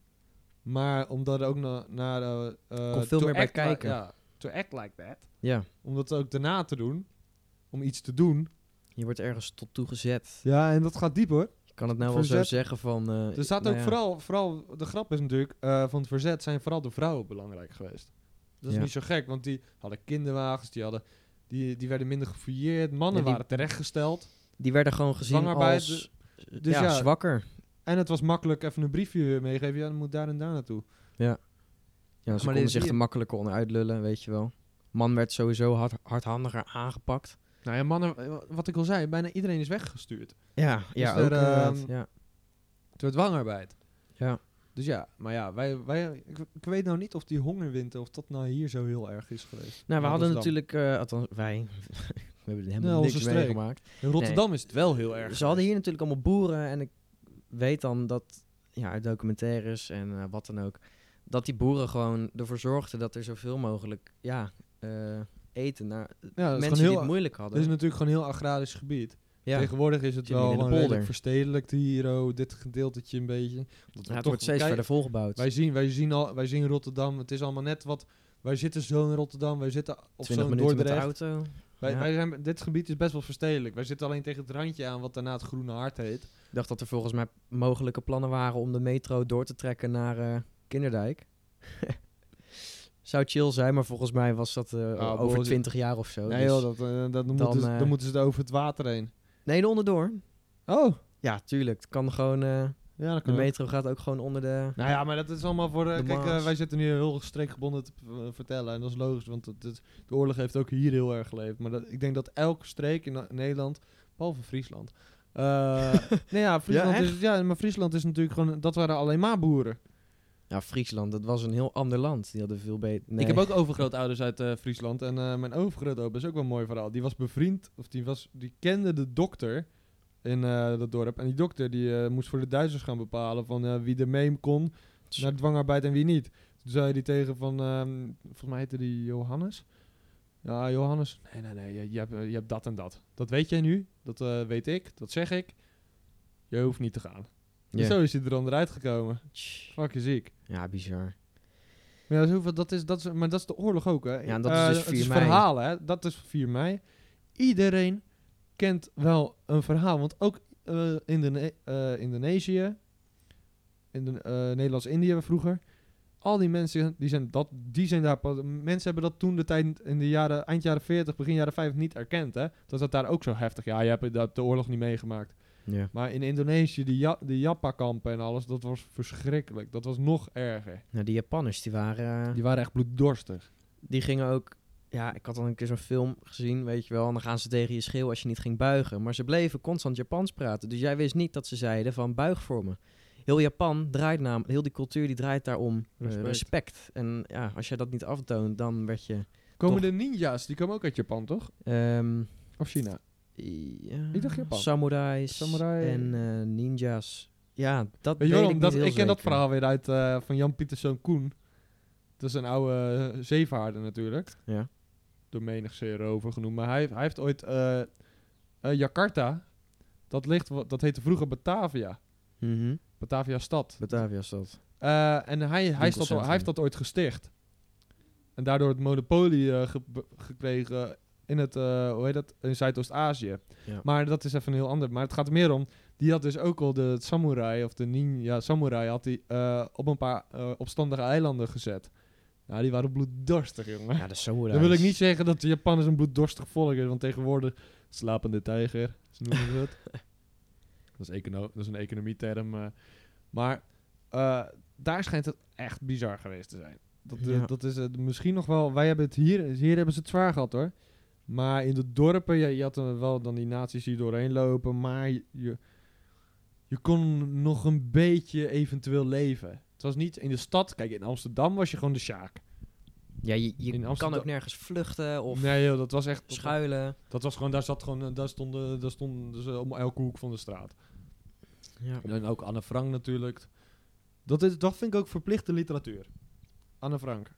Speaker 3: Maar omdat er ook na, naar... eh, eh,
Speaker 4: Komt veel
Speaker 3: to
Speaker 4: meer bij
Speaker 3: act li-
Speaker 4: kijken.
Speaker 3: ja, to act like that.
Speaker 4: ja.
Speaker 3: Om dat ook daarna te doen. Om iets te doen.
Speaker 4: Je wordt ergens tot toegezet.
Speaker 3: Ja, en dat gaat diep hoor.
Speaker 4: Ik kan het nou wel zo
Speaker 3: Verzet.
Speaker 4: zeggen van... eh,
Speaker 3: Er staat
Speaker 4: nou
Speaker 3: ook
Speaker 4: ja.
Speaker 3: vooral, vooral... De grap is natuurlijk, eh, van het verzet zijn vooral de vrouwen belangrijk geweest. Dat is
Speaker 4: Ja.
Speaker 3: niet zo gek, want die hadden kinderwagens, die hadden... Die, die werden minder gefouilleerd. Mannen
Speaker 4: Ja, die-
Speaker 3: waren terechtgesteld.
Speaker 4: Die werden gewoon gezien
Speaker 3: Dwangarbeid,
Speaker 4: als...
Speaker 3: dus
Speaker 4: ja,
Speaker 3: ja.
Speaker 4: zwakker.
Speaker 3: En het was makkelijk even een briefje meegeven. Ja, dan moet daar en daar naartoe.
Speaker 4: Ja, ze
Speaker 3: dit
Speaker 4: konden
Speaker 3: is
Speaker 4: zich
Speaker 3: hier-
Speaker 4: er makkelijker onderuit lullen, weet je wel. Man werd sowieso hard, hardhandiger aangepakt.
Speaker 3: Nou ja, mannen... eh, Wat ik al zei, bijna iedereen is weggestuurd.
Speaker 4: eh, Ja, ja,
Speaker 3: er,
Speaker 4: ook inderdaad,
Speaker 3: ehm,
Speaker 4: ja.
Speaker 3: Door dwangarbeid.
Speaker 4: Ja.
Speaker 3: Dus ja, maar ja, wij, wij, ik, ik weet nou niet of die hongerwinter, of dat nou hier zo heel erg is geweest.
Speaker 4: Nou, we
Speaker 3: In
Speaker 4: hadden
Speaker 3: Rotterdam.
Speaker 4: natuurlijk, eh, althans wij, we hebben er helemaal
Speaker 3: Nou,
Speaker 4: niks
Speaker 3: onze streek.
Speaker 4: meegemaakt.
Speaker 3: In Rotterdam is het wel heel erg.
Speaker 4: Ze hadden hier natuurlijk allemaal boeren en ik weet dan dat, ja, uit documentaires en eh, wat dan ook, dat die boeren gewoon ervoor zorgden dat er zoveel mogelijk, ja, eh, eten naar
Speaker 3: ja, dat is,
Speaker 4: mensen
Speaker 3: gewoon heel,
Speaker 4: die
Speaker 3: eh, dus
Speaker 4: het moeilijk
Speaker 3: dat is
Speaker 4: hadden.
Speaker 3: natuurlijk gewoon heel agrarisch gebied.
Speaker 4: Ja.
Speaker 3: Tegenwoordig is het
Speaker 4: Zit meer
Speaker 3: wel
Speaker 4: in de
Speaker 3: gewoon redelijk
Speaker 4: polder.
Speaker 3: verstedelijkt hier, oh, dit gedeeltetje een beetje. Omdat we
Speaker 4: Ja, het
Speaker 3: toch-
Speaker 4: wordt steeds
Speaker 3: kijk,
Speaker 4: verder volgebouwd.
Speaker 3: Wij zien, wij, zien al, wij zien Rotterdam, het is allemaal net wat... Wij zitten zo in Rotterdam, wij zitten op
Speaker 4: 20
Speaker 3: zo'n
Speaker 4: minuten met de
Speaker 3: Dordrecht.
Speaker 4: auto.
Speaker 3: Wij,
Speaker 4: Ja.
Speaker 3: wij zijn, dit gebied is best wel verstedelijk. Wij zitten alleen tegen het randje aan wat daarna het Groene Hart heet.
Speaker 4: Ik dacht dat er volgens mij mogelijke plannen waren om de metro door te trekken naar eh, Kinderdijk. Zou chill zijn, maar volgens mij was dat eh, over
Speaker 3: Boris-
Speaker 4: 20 jaar of zo.
Speaker 3: Nou, nee
Speaker 4: dus-
Speaker 3: joh, dat, eh, dat, dan, moeten ze,
Speaker 4: eh,
Speaker 3: dan moeten ze er over het water heen.
Speaker 4: nee, de onderdoor.
Speaker 3: Oh,
Speaker 4: Ja, tuurlijk. Het kan gewoon, eh,
Speaker 3: ja, dat
Speaker 4: de
Speaker 3: kan ook.
Speaker 4: metro gaat ook gewoon onder de...
Speaker 3: Nou ja, maar dat is allemaal voor... eh,
Speaker 4: De
Speaker 3: kijk, eh,
Speaker 4: Maas.
Speaker 3: wij zitten nu heel streekgebonden te eh, vertellen. En dat is logisch, want het, het- de oorlog heeft ook hier heel erg geleefd. Maar dat, ik denk dat elke streek in eh, Nederland, behalve Friesland... eh, nee ja, Friesland
Speaker 4: Ja,
Speaker 3: is, ja, maar Friesland is natuurlijk gewoon... Dat waren alleen maar boeren.
Speaker 4: Ja, Friesland, dat was een heel ander land. Die hadden veel beter...
Speaker 3: Ik heb ook overgrootouders uit eh, Friesland. En eh, mijn overgrootopa is ook wel een mooi verhaal. Die was bevriend, of die, was, die kende de dokter in eh, dat dorp. En die dokter die, eh, moest voor de Duitsers gaan bepalen van eh, wie er mee kon
Speaker 4: Tss.
Speaker 3: naar dwangarbeid en wie niet. Toen zei hij tegen van, ehm, volgens mij heette die Johannes. Ja, Johannes. Nee, nee, nee, je, je hebt, eh, je hebt dat en dat. Dat weet jij nu, dat eh, weet ik, dat zeg ik. Je hoeft niet te gaan. En
Speaker 4: Ja.
Speaker 3: Zo is hij er onderuit gekomen.
Speaker 4: Tss.
Speaker 3: Fucking ziek.
Speaker 4: Ja, bizar.
Speaker 3: Maar Ja, dat is hoeveel- dat is, dat is, maar dat is de oorlog ook, hè?
Speaker 4: Ja, en dat is
Speaker 3: Eh,
Speaker 4: dus
Speaker 3: het
Speaker 4: 4
Speaker 3: is
Speaker 4: mei.
Speaker 3: verhalen, hè? Dat is 4 mei. Iedereen kent wel een verhaal. Want ook eh Indone- eh, Indonesië, in Nederlands-Indië vroeger... Al die mensen, die zijn, dat, die zijn daar... pas- Mensen hebben dat toen de tijd in de jaren... Eind jaren 40, begin jaren 50 niet erkend, hè? Dat dat daar ook zo heftig... Ja, je hebt dat, de oorlog niet meegemaakt.
Speaker 4: Ja.
Speaker 3: Maar in Indonesië, die, ja, die Jappa-kampen en alles... Dat was verschrikkelijk. Dat was nog erger.
Speaker 4: Nou, die Japanners, die waren... eh,
Speaker 3: Die waren echt bloeddorstig.
Speaker 4: die gingen ook... Ja, ik had dan een keer zo'n film gezien, weet je wel. En dan gaan ze tegen je schreeuwen als je niet ging buigen. Maar ze bleven constant Japans praten. Dus jij wist niet dat ze zeiden van buig voor me. Heel Japan draait naam, heel die cultuur die draait daarom eh,
Speaker 3: Respect.
Speaker 4: respect. En ja, als jij dat niet aftoont, dan werd je...
Speaker 3: Komen
Speaker 4: Toch?
Speaker 3: de ninja's, die komen ook uit Japan, toch?
Speaker 4: ehm,
Speaker 3: Of China?
Speaker 4: ja,
Speaker 3: Ik dacht Japan.
Speaker 4: Samurais
Speaker 3: Samurai.
Speaker 4: en eh, ninja's. Ja, dat
Speaker 3: Weet je
Speaker 4: weet
Speaker 3: waarom?
Speaker 4: ik
Speaker 3: Dat,
Speaker 4: niet
Speaker 3: ik
Speaker 4: heel
Speaker 3: ken dat
Speaker 4: zeker.
Speaker 3: verhaal weer uit eh, van Jan Pieterszoon Koen. Dat is een oude eh, zeevaarder natuurlijk.
Speaker 4: Ja.
Speaker 3: Door menig zeerover genoemd. Maar hij, hij heeft ooit eh, eh, Jakarta. Dat, ligt, wa- dat heette vroeger Batavia.
Speaker 4: Mhm.
Speaker 3: Batavia stad.
Speaker 4: Batavia is dat.
Speaker 3: Eh, en hij, hij, is dat,
Speaker 4: Winkelcentrum.
Speaker 3: hij heeft dat ooit gesticht. En daardoor het monopolie eh, ge- be- gekregen in, het, eh, hoe heet dat? in Zuidoost-Azië.
Speaker 4: Ja.
Speaker 3: Maar dat is even een heel ander. Maar het gaat er meer om, die had dus ook al de samurai, of de ninja samurai, had die eh, op een paar eh, opstandige eilanden gezet. Nou, die waren bloeddorstig, jongen.
Speaker 4: Ja, de samurais.
Speaker 3: Dan wil ik niet zeggen dat de Japanners een bloeddorstig volk is, want tegenwoordig slapende tijger, ze noemen ze het. dat, is econo dat is een economieterm. eh. maar eh, daar schijnt het echt bizar geweest te zijn. Dat, eh,
Speaker 4: Ja.
Speaker 3: dat is het misschien nog wel. Wij hebben het hier, hier hebben ze het zwaar gehad hoor. Maar in de dorpen, je, je had dan wel dan die naties die doorheen lopen, maar je, je, je kon nog een beetje eventueel leven. Het was niet in de stad. Kijk, in Amsterdam was je gewoon de sjaak.
Speaker 4: Ja, je, je
Speaker 3: In
Speaker 4: kan
Speaker 3: Amsterdam-
Speaker 4: ook nergens vluchten of
Speaker 3: Nee joh, dat was echt...
Speaker 4: schuilen.
Speaker 3: Dat was gewoon, daar zat gewoon, eh, daar stonden, daar stonden ze om elke hoek van de straat.
Speaker 4: Ja.
Speaker 3: En dan ook Anne Frank natuurlijk. Dat, is, dat vind ik ook verplichte literatuur. Anne Frank.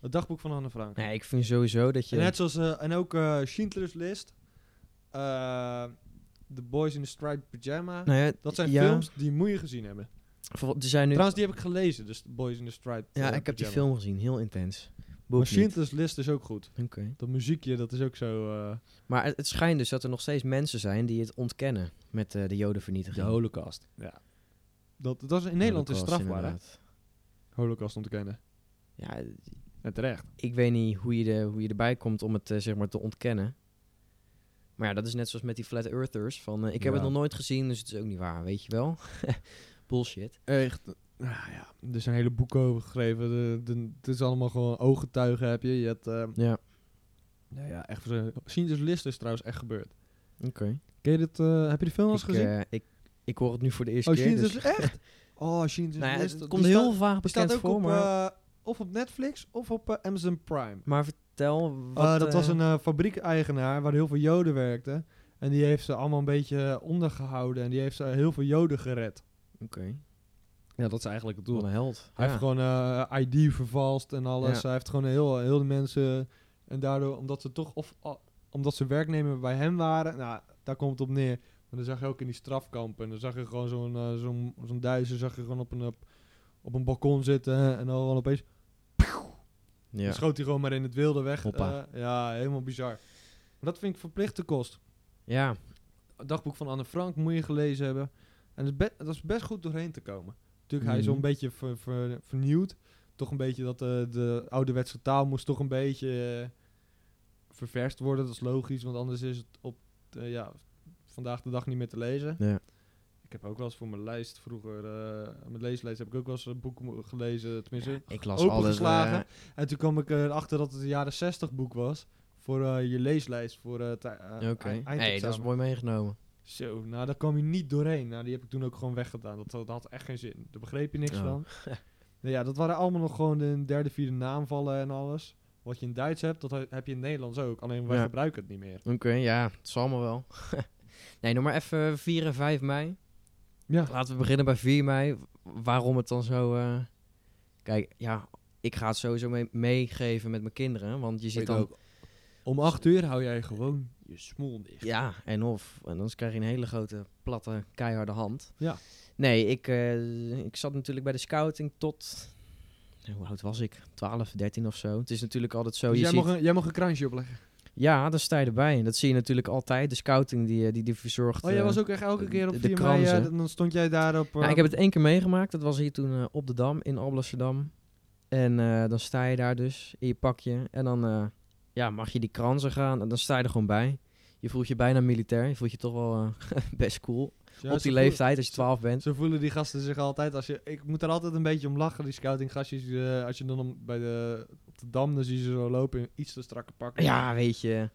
Speaker 3: Het dagboek van Anne Frank.
Speaker 4: Nee, ik vind sowieso dat je...
Speaker 3: En net zoals, eh, en ook eh, Schindler's List. eh, The Boys in the Striped Pyjama.
Speaker 4: Nou ja,
Speaker 3: Dat zijn
Speaker 4: ja,
Speaker 3: films die moet je gezien hebben.
Speaker 4: bijvoorbeeld, Er zijn nu...
Speaker 3: Trouwens, die heb ik gelezen, dus The Boys in the Striped
Speaker 4: ja,
Speaker 3: eh,
Speaker 4: ik heb die
Speaker 3: Pyjama.
Speaker 4: film gezien. Heel intens. Boek
Speaker 3: Maar
Speaker 4: niet.
Speaker 3: Schindler's List is ook goed.
Speaker 4: Oké.
Speaker 3: Dat muziekje, dat is ook zo... eh,
Speaker 4: Maar het, het schijnt dus dat er nog steeds mensen zijn die het ontkennen met eh, de jodenvernietiging.
Speaker 3: Holocaust. Ja. Dat, dat is, in Nederland is
Speaker 4: Holocaust,
Speaker 3: strafbaar, hè?
Speaker 4: inderdaad.
Speaker 3: Holocaust ontkennen.
Speaker 4: Ja,
Speaker 3: En terecht.
Speaker 4: ik weet niet hoe je, de, hoe je erbij komt om het eh, zeg maar te ontkennen. Maar ja, dat is net zoals met die flat earthers. Van, eh, ik heb
Speaker 3: Ja.
Speaker 4: het nog nooit gezien, dus het is ook niet waar, weet je wel. Bullshit.
Speaker 3: Echt. Nou ja, er zijn hele boeken over geschreven. De, de- het is allemaal gewoon ooggetuigen heb je. Je hebt, eh,
Speaker 4: Ja,
Speaker 3: nou ja, echt verschillende. Schindler's List is trouwens echt gebeurd.
Speaker 4: oké.
Speaker 3: Ken je dit, eh, heb je die film al eens
Speaker 4: Ik,
Speaker 3: gezien?
Speaker 4: eh, ik Ik hoor het nu voor de eerste
Speaker 3: Oh,
Speaker 4: keer.
Speaker 3: Sheen
Speaker 4: Dus,
Speaker 3: is echt? Oh, Sheen is
Speaker 4: nou ja,
Speaker 3: List,
Speaker 4: het
Speaker 3: die
Speaker 4: komt
Speaker 3: staat-
Speaker 4: heel vaag
Speaker 3: die staat
Speaker 4: bekend
Speaker 3: ook
Speaker 4: voor,
Speaker 3: op,
Speaker 4: maar,
Speaker 3: eh, of op Netflix of op eh, Amazon Prime.
Speaker 4: maar vertel. Wat,
Speaker 3: Eh, dat
Speaker 4: eh,
Speaker 3: was een eh, fabriekeigenaar waar heel veel joden werkten. En die heeft ze allemaal een beetje ondergehouden. En die heeft ze heel veel joden gered.
Speaker 4: Oké,
Speaker 3: Ja, dat is eigenlijk het doel.
Speaker 4: wat een held.
Speaker 3: Hij
Speaker 4: Ja.
Speaker 3: heeft gewoon eh, ID vervalst en alles.
Speaker 4: Ja.
Speaker 3: Hij heeft gewoon heel, heel de mensen... En daardoor, omdat ze toch... Of, ah, omdat ze werknemer bij hem waren... Nou, daar komt het op neer. Maar dan zag je ook in die strafkampen. En dan zag je gewoon zo'n eh, zo'n zo'n duizer... zag je gewoon op een, op, op een balkon zitten. hè, En dan gewoon opeens...
Speaker 4: Ja.
Speaker 3: schoot hij gewoon maar in het wilde weg.
Speaker 4: Hoppa.
Speaker 3: Eh, ja, helemaal bizar. Maar dat vind ik verplichte kost.
Speaker 4: ja,
Speaker 3: Het dagboek van Anne Frank moet je gelezen hebben. En dat is, be- dat is best goed doorheen te komen. Natuurlijk, hij is wel een
Speaker 4: Mhm.
Speaker 3: beetje ver- ver- vernieuwd. Toch een beetje dat eh, de ouderwetse taal moest toch een beetje eh, ververst worden. Dat is logisch, want anders is het op eh, ja, vandaag de dag niet meer te lezen.
Speaker 4: Ja.
Speaker 3: Ik heb ook wel eens voor mijn lijst vroeger, eh, mijn leeslijst heb ik ook wel eens een boek mo- gelezen. Tenminste,
Speaker 4: ik las alles.
Speaker 3: opengeslagen.
Speaker 4: eh,
Speaker 3: En toen kwam ik eh, erachter dat het een jaren 60 boek was. Voor eh, je leeslijst voor eh, het ei- eh,
Speaker 4: Oké,
Speaker 3: ei-
Speaker 4: hey, dat is
Speaker 3: eindexamen.
Speaker 4: mooi meegenomen.
Speaker 3: Zo, nou daar kwam je niet doorheen. Nou, die heb ik toen ook gewoon weggedaan. Dat, dat had echt geen zin. Daar begreep je niks
Speaker 4: Oh.
Speaker 3: van. nou ja, dat waren allemaal nog gewoon de derde, vierde naamvallen en alles. Wat je in Duits hebt, dat he- heb je in Nederlands ook. Alleen wij
Speaker 4: Ja.
Speaker 3: gebruiken het niet meer.
Speaker 4: Oké, ja, het zal allemaal wel. nee, nog maar even 4 en 5 mei.
Speaker 3: Ja.
Speaker 4: Laten we beginnen bij 4 mei. Waarom het dan zo... eh, Kijk, ja, ik ga het sowieso mee- meegeven met mijn kinderen. Want je ziet dan...
Speaker 3: Om acht uur hou jij gewoon je smoel dicht.
Speaker 4: Ja, en of. En anders krijg je een hele grote, platte, keiharde hand.
Speaker 3: Ja.
Speaker 4: Nee, ik, eh, ik zat natuurlijk bij de scouting tot... eh, Hoe oud was ik? 12, 13 of zo. Het is natuurlijk altijd zo.
Speaker 3: Dus
Speaker 4: je
Speaker 3: jij,
Speaker 4: ziet...
Speaker 3: mag een, jij mag een kransje opleggen.
Speaker 4: Ja, daar sta je erbij. En dat zie je natuurlijk altijd. De scouting die, eh, die, die verzorgt...
Speaker 3: Oh, jij
Speaker 4: eh,
Speaker 3: was ook echt elke keer op
Speaker 4: de
Speaker 3: 4 mei. eh,
Speaker 4: kransen.
Speaker 3: dan stond jij daar op...
Speaker 4: Nou,
Speaker 3: eh,
Speaker 4: ik heb het één keer meegemaakt. Dat was hier toen eh, op de Dam in Alblasserdam. En eh, dan sta je daar dus in je pakje. En dan eh, ja, mag je die kransen gaan. En dan sta je er gewoon bij. Je voelt je bijna militair. Je voelt je toch wel eh, best cool.
Speaker 3: ja,
Speaker 4: op
Speaker 3: ze
Speaker 4: die
Speaker 3: voelen-
Speaker 4: leeftijd, als je 12 bent.
Speaker 3: Zo voelen die gasten zich altijd. Als je, ik moet er altijd een beetje om lachen, die scoutinggastjes. eh, als je dan om, bij de, op de dam, dan zie je ze zo lopen in iets te strakke pakken.
Speaker 4: Ja, weet je. Het,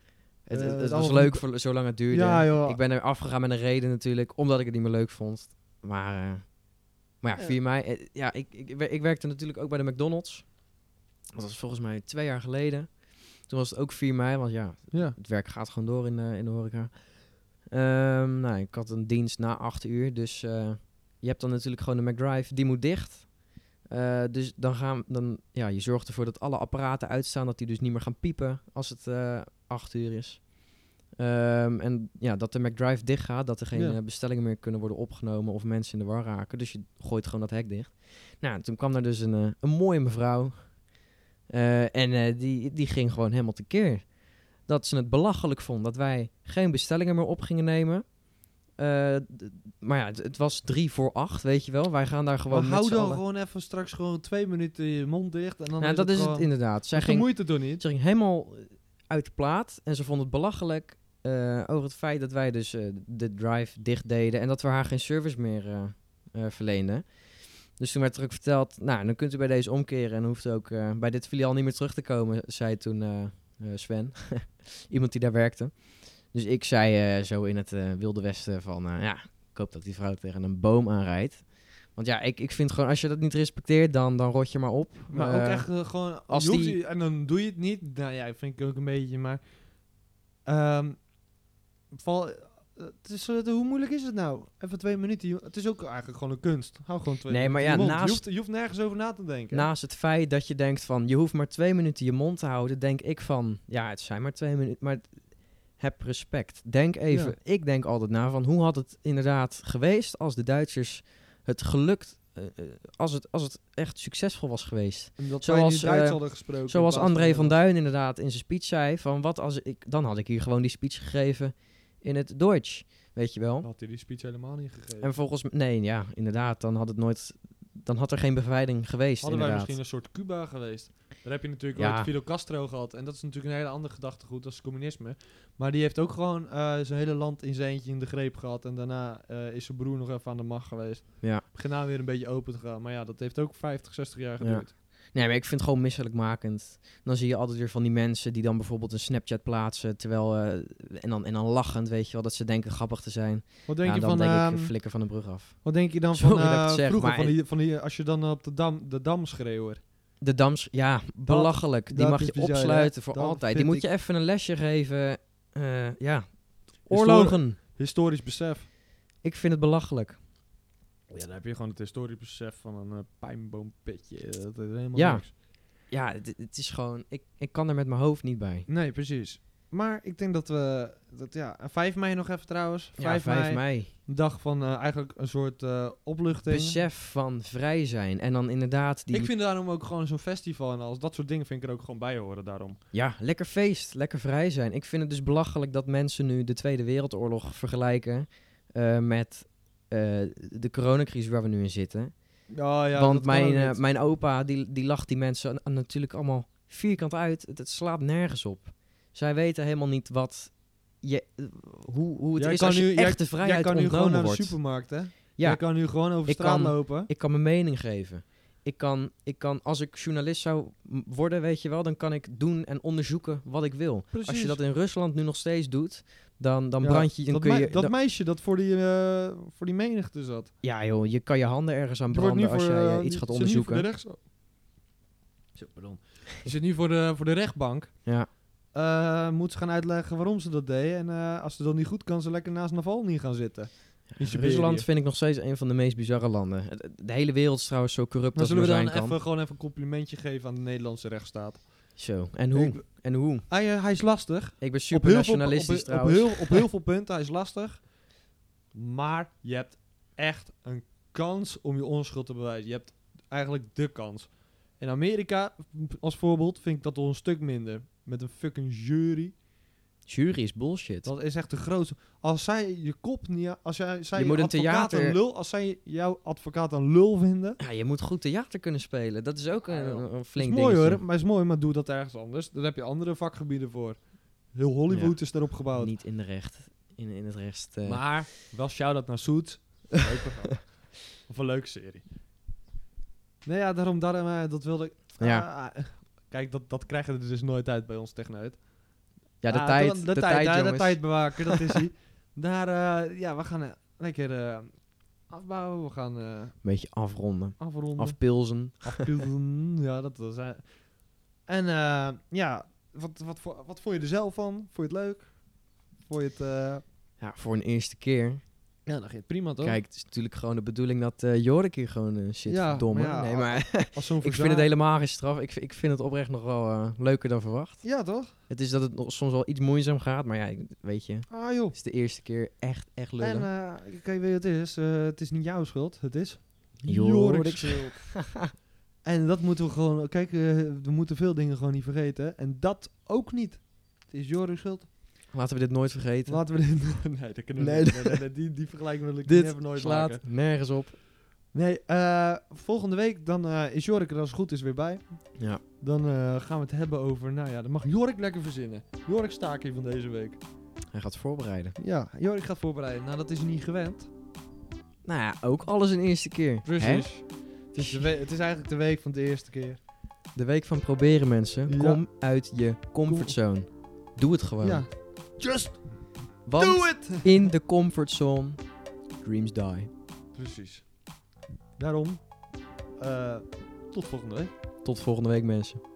Speaker 3: Eh,
Speaker 4: het- het
Speaker 3: het
Speaker 4: was
Speaker 3: allemaal-
Speaker 4: leuk voor, zolang het duurde.
Speaker 3: ja joh.
Speaker 4: Ik ben er afgegaan met een reden natuurlijk. Omdat ik het niet meer leuk vond. Maar, eh, maar ja,
Speaker 3: Ja.
Speaker 4: 4 mei. eh, ja, ik, ik, wer- ik werkte natuurlijk ook bij de McDonald's. Dat was volgens mij twee jaar geleden. Toen was het ook 4 mei. Want ja,
Speaker 3: ja.
Speaker 4: het werk gaat gewoon door in, eh, in de horeca. Ehm, nou, ik had een dienst na acht uur, dus eh, je hebt dan natuurlijk gewoon de McDrive, die moet dicht. Eh, dus dan gaan, dan, ja, je zorgt ervoor dat alle apparaten uitstaan, dat die dus niet meer gaan piepen als het eh acht uur is. Ehm, en ja, dat de McDrive dicht gaat, dat er geen
Speaker 3: Ja.
Speaker 4: eh, bestellingen meer kunnen worden opgenomen of mensen in de war raken. Dus je gooit gewoon dat hek dicht. Nou, toen kwam daar dus een, eh, een mooie mevrouw. Eh, en eh, die, die ging gewoon helemaal tekeer dat ze het belachelijk vond dat wij geen bestellingen meer op gingen nemen. Eh, d- maar ja, het, het was drie voor acht, weet je wel. Wij gaan daar gewoon
Speaker 3: Maar
Speaker 4: met
Speaker 3: hou
Speaker 4: z'n
Speaker 3: dan
Speaker 4: allen-
Speaker 3: gewoon even straks gewoon twee minuten je mond dicht. En dan
Speaker 4: Nou, dat is het
Speaker 3: in.
Speaker 4: inderdaad. Zij
Speaker 3: Zeg de
Speaker 4: ging,
Speaker 3: moeite toch niet?
Speaker 4: ze ging helemaal eh, uit de plaat en ze vond het belachelijk eh, over het feit dat wij dus eh, de drive dicht deden en dat we haar geen service meer eh, eh, verleenden. Dus toen werd er ook verteld, nou, dan kunt u bij deze omkeren en hoeft ook eh, bij dit filiaal niet meer terug te komen, zei toen eh, eh, Sven, iemand die daar werkte. Dus ik zei eh, zo in het eh, wilde westen van, eh, ja, ik hoop dat die vrouw tegen een boom aanrijdt. Want ja, ik, ik vind gewoon, als je dat niet respecteert, dan, dan rot je maar op.
Speaker 3: Maar ook
Speaker 4: Eh,
Speaker 3: echt eh, gewoon...
Speaker 4: als
Speaker 3: Als die...
Speaker 4: die-
Speaker 3: en dan doe je het niet. Nou ja, vind ik ook een beetje, maar... ehm, val, eh, het is, eh, hoe moeilijk is het nou? Even twee minuten. je- Het is ook eigenlijk gewoon een kunst. Hou gewoon twee
Speaker 4: Nee, maar
Speaker 3: minuten
Speaker 4: ja,
Speaker 3: je mond.
Speaker 4: naast-
Speaker 3: Je hoeft, je hoeft nergens over na te denken.
Speaker 4: Naast het feit dat je denkt van je hoeft maar twee minuten je mond te houden, denk ik van ja, het zijn maar twee minuten, maar heb respect. Denk even, ik denk altijd na van hoe had het inderdaad geweest als de Duitsers het gelukt, eh, eh, als, het, als het echt succesvol was geweest.
Speaker 3: Omdat
Speaker 4: Zoals,
Speaker 3: wij nu Duits
Speaker 4: eh,
Speaker 3: hadden gesproken.
Speaker 4: Zoals
Speaker 3: in plaats
Speaker 4: André van
Speaker 3: Nederlands.
Speaker 4: Duin inderdaad in zijn speech zei van wat als ik, dan had ik hier gewoon die speech gegeven in het Duits, weet je wel.
Speaker 3: Had hij die speech helemaal niet gegeven.
Speaker 4: En volgens mij, nee, ja, inderdaad, dan had het nooit, dan had er geen bevrijding geweest
Speaker 3: Hadden wij
Speaker 4: inderdaad.
Speaker 3: misschien een soort Cuba geweest. Daar heb je natuurlijk
Speaker 4: Ja.
Speaker 3: ook Fidel Castro gehad. En dat is natuurlijk een hele andere gedachtegoed als communisme. Maar die heeft ook gewoon eh, zijn hele land in zijn eentje in de greep gehad. En daarna eh, is zijn broer nog even aan de macht geweest.
Speaker 4: Ja.
Speaker 3: Begint nou weer een beetje open te gaan. Maar ja, dat heeft ook 50, 60 jaar
Speaker 4: Ja.
Speaker 3: geduurd.
Speaker 4: Nee, maar ik vind het gewoon misselijkmakend. Dan zie je altijd weer van die mensen die dan bijvoorbeeld een Snapchat plaatsen. Terwijl, eh, en, dan, en dan lachend, weet je wel, dat ze denken grappig te zijn.
Speaker 3: Wat denk
Speaker 4: ja,
Speaker 3: je
Speaker 4: dan
Speaker 3: van...
Speaker 4: denk
Speaker 3: ehm,
Speaker 4: ik eh, flikker van de brug af.
Speaker 3: wat denk je dan
Speaker 4: Sorry
Speaker 3: van
Speaker 4: dat ik het
Speaker 3: eh,
Speaker 4: zeg,
Speaker 3: vroeger,
Speaker 4: maar
Speaker 3: van die, van die, als je dan op de dam, de dam schreeuwer.
Speaker 4: De dams, ja, belachelijk. die
Speaker 3: dat
Speaker 4: mag
Speaker 3: is
Speaker 4: je
Speaker 3: bizar, hè?
Speaker 4: opsluiten voor
Speaker 3: Dat
Speaker 4: altijd. Die
Speaker 3: vind
Speaker 4: moet
Speaker 3: ik-
Speaker 4: je even een lesje geven. Eh, ja, oorlogen.
Speaker 3: Historisch besef.
Speaker 4: Ik vind het belachelijk.
Speaker 3: Ja, dan heb je gewoon het historisch besef van een eh, pijnboompitje. Dat is helemaal
Speaker 4: Ja.
Speaker 3: niks.
Speaker 4: Ja, het, het is gewoon, ik, ik kan er met mijn hoofd niet bij.
Speaker 3: Nee, precies. Maar ik denk dat we... Dat, ja, 5 mei nog even trouwens. 5,
Speaker 4: Ja, 5 mei.
Speaker 3: Een dag van eh, eigenlijk een soort eh, opluchting.
Speaker 4: Besef van vrij zijn. En dan inderdaad die...
Speaker 3: Ik vind daarom ook gewoon zo'n festival en alles. Dat soort dingen vind ik er ook gewoon bij horen daarom.
Speaker 4: Ja, lekker feest, lekker vrij zijn. Ik vind het dus belachelijk dat mensen nu de Tweede Wereldoorlog vergelijken eh, met eh, de coronacrisis waar we nu in zitten.
Speaker 3: Oh, ja,
Speaker 4: Want mijn, eh, mijn opa, die, die lacht die mensen a- natuurlijk allemaal vierkant uit. Het, het slaat nergens op. Zij weten helemaal niet wat je, hoe, hoe het
Speaker 3: Jij
Speaker 4: is
Speaker 3: kan
Speaker 4: als je
Speaker 3: nu- jij-
Speaker 4: echt de vrijheid
Speaker 3: Jij kan nu gewoon naar de
Speaker 4: wordt.
Speaker 3: supermarkt, hè?
Speaker 4: Ja.
Speaker 3: Jij kan nu gewoon over
Speaker 4: Ik
Speaker 3: straat
Speaker 4: kan-
Speaker 3: lopen.
Speaker 4: Ik kan mijn mening geven. Ik kan, ik kan, als ik journalist zou m- worden, weet je wel, dan kan ik doen en onderzoeken wat ik wil. Als je dat in Rusland nu nog steeds doet, dan, dan
Speaker 3: Ja,
Speaker 4: brand je, dan
Speaker 3: dat,
Speaker 4: kun
Speaker 3: mei-
Speaker 4: je...
Speaker 3: dat
Speaker 4: dan-
Speaker 3: meisje dat voor die, eh, voor die menigte zat.
Speaker 4: ja joh, je kan je handen ergens aan
Speaker 3: Die wordt
Speaker 4: branden
Speaker 3: nu
Speaker 4: als
Speaker 3: voor,
Speaker 4: jij eh,
Speaker 3: eh,
Speaker 4: iets
Speaker 3: die
Speaker 4: gaat
Speaker 3: zit nu voor
Speaker 4: onderzoeken.
Speaker 3: de rechts- Zo, pardon. Die zit nu voor de, voor de rechtbank.
Speaker 4: Ja.
Speaker 3: Eh, moet ze gaan uitleggen waarom ze dat deed. En eh, als ze dat niet goed kan, ze lekker naast Navalny gaan zitten. In Siberië.
Speaker 4: Rusland vind ik nog steeds een van de meest bizarre landen. Het- het- De hele wereld is trouwens zo corrupt
Speaker 3: Maar
Speaker 4: als het
Speaker 3: zullen
Speaker 4: maar
Speaker 3: we dan
Speaker 4: zijn kan.
Speaker 3: even, gewoon even een complimentje geven aan de Nederlandse rechtsstaat?
Speaker 4: Zo, en hoe?
Speaker 3: Ik-
Speaker 4: En hoe?
Speaker 3: Hij, eh, hij is lastig.
Speaker 4: Ik ben
Speaker 3: Op
Speaker 4: super
Speaker 3: heel, veel, op,
Speaker 4: nationalistisch
Speaker 3: op- op,
Speaker 4: trouwens.
Speaker 3: heel, op heel veel punten, hij is lastig. Maar je hebt echt een kans om je onschuld te bewijzen. Je hebt eigenlijk de kans. In Amerika, als voorbeeld, vind ik dat al een stuk minder. Met een fucking jury.
Speaker 4: Jury is bullshit.
Speaker 3: Dat is echt de grootste. Als zij je kop niet... Als jij, zij
Speaker 4: Je moet een
Speaker 3: advocaat
Speaker 4: theater-
Speaker 3: een lul... Als zij jouw advocaat een lul vinden...
Speaker 4: Ja, je moet goed theater kunnen spelen. Dat is ook een,
Speaker 3: Ja, joh.
Speaker 4: een- een
Speaker 3: Is
Speaker 4: flink
Speaker 3: mooi
Speaker 4: dingetje.
Speaker 3: hoor, maar is mooi, maar doe dat ergens anders. Daar heb je andere vakgebieden voor. Heel Hollywood is daarop gebouwd.
Speaker 4: Niet in de recht. In, in het recht. eh,
Speaker 3: Maar wel shout-out naar Soet. Leuk programma. of een leuke serie. Nee, ja, daarom, daarom eh, dat wilde ik...
Speaker 4: Ja.
Speaker 3: Ah, kijk, dat, dat krijgen er dus nooit uit bij ons techneut.
Speaker 4: ja, de
Speaker 3: Ah,
Speaker 4: tijd.
Speaker 3: dan-
Speaker 4: De, tijd,
Speaker 3: hè,
Speaker 4: jongens.
Speaker 3: De tijd bewaken, dat is hij. Daar, eh, ja, we gaan eh, lekker eh, afbouwen. We gaan eh,
Speaker 4: Beetje afronden.
Speaker 3: afronden.
Speaker 4: Afpilzen.
Speaker 3: Afpilden. ja, dat was... eh. En eh, ja, wat, wat, vo- wat vond je er zelf van? Vond je het leuk? Vond je het... eh,
Speaker 4: Ja, voor een eerste keer.
Speaker 3: Ja, dan ging het prima toch?
Speaker 4: Kijk, het is natuurlijk gewoon de bedoeling dat eh, Jorik hier gewoon eh, zit.
Speaker 3: Ja,
Speaker 4: verdomme.
Speaker 3: maar ja,
Speaker 4: nee,
Speaker 3: al-
Speaker 4: maar
Speaker 3: Als zo'n
Speaker 4: ik vind het
Speaker 3: verzaai-
Speaker 4: helemaal geen straf. Ik, ik vind het oprecht nog wel eh, leuker dan verwacht.
Speaker 3: Ja, toch?
Speaker 4: Het is dat het nog soms wel iets moeizaam gaat, maar ja, ik- weet je.
Speaker 3: Ah joh.
Speaker 4: Het is de eerste keer echt, echt lullen.
Speaker 3: En eh, kijk, weet je wat het is? Eh, het is niet jouw schuld, het is
Speaker 4: Jorik's
Speaker 3: Jorik's schuld. en dat moeten we gewoon... Kijk, eh, we moeten veel dingen gewoon niet vergeten. En dat ook niet. Het is Jorik's schuld.
Speaker 4: Laten we dit nooit vergeten.
Speaker 3: Laten we dit... nee, dat kunnen we
Speaker 4: Nee,
Speaker 3: niet. Nee, nee, nee, die, die vergelijking wil ik
Speaker 4: dit
Speaker 3: never nooit
Speaker 4: slaat
Speaker 3: maken.
Speaker 4: nergens op.
Speaker 3: Nee, eh, volgende week dan eh, is Jorik er als het goed is weer bij.
Speaker 4: Ja.
Speaker 3: Dan eh, gaan we het hebben over... Nou ja, dat mag Jorik lekker verzinnen. Jorik staakje van deze week.
Speaker 4: Hij gaat voorbereiden.
Speaker 3: Ja, Jorik gaat voorbereiden. Nou, dat is hij niet gewend.
Speaker 4: Nou ja, ook alles een eerste keer. hè?
Speaker 3: Het is, de we- het is eigenlijk de week van de eerste keer.
Speaker 4: De week van proberen mensen.
Speaker 3: Ja.
Speaker 4: Kom uit je comfortzone. Doe het gewoon.
Speaker 3: Ja. Just
Speaker 4: Want
Speaker 3: it!
Speaker 4: in de comfortzone, dreams die.
Speaker 3: Precies. Daarom, eh, tot volgende week.
Speaker 4: Tot volgende week mensen.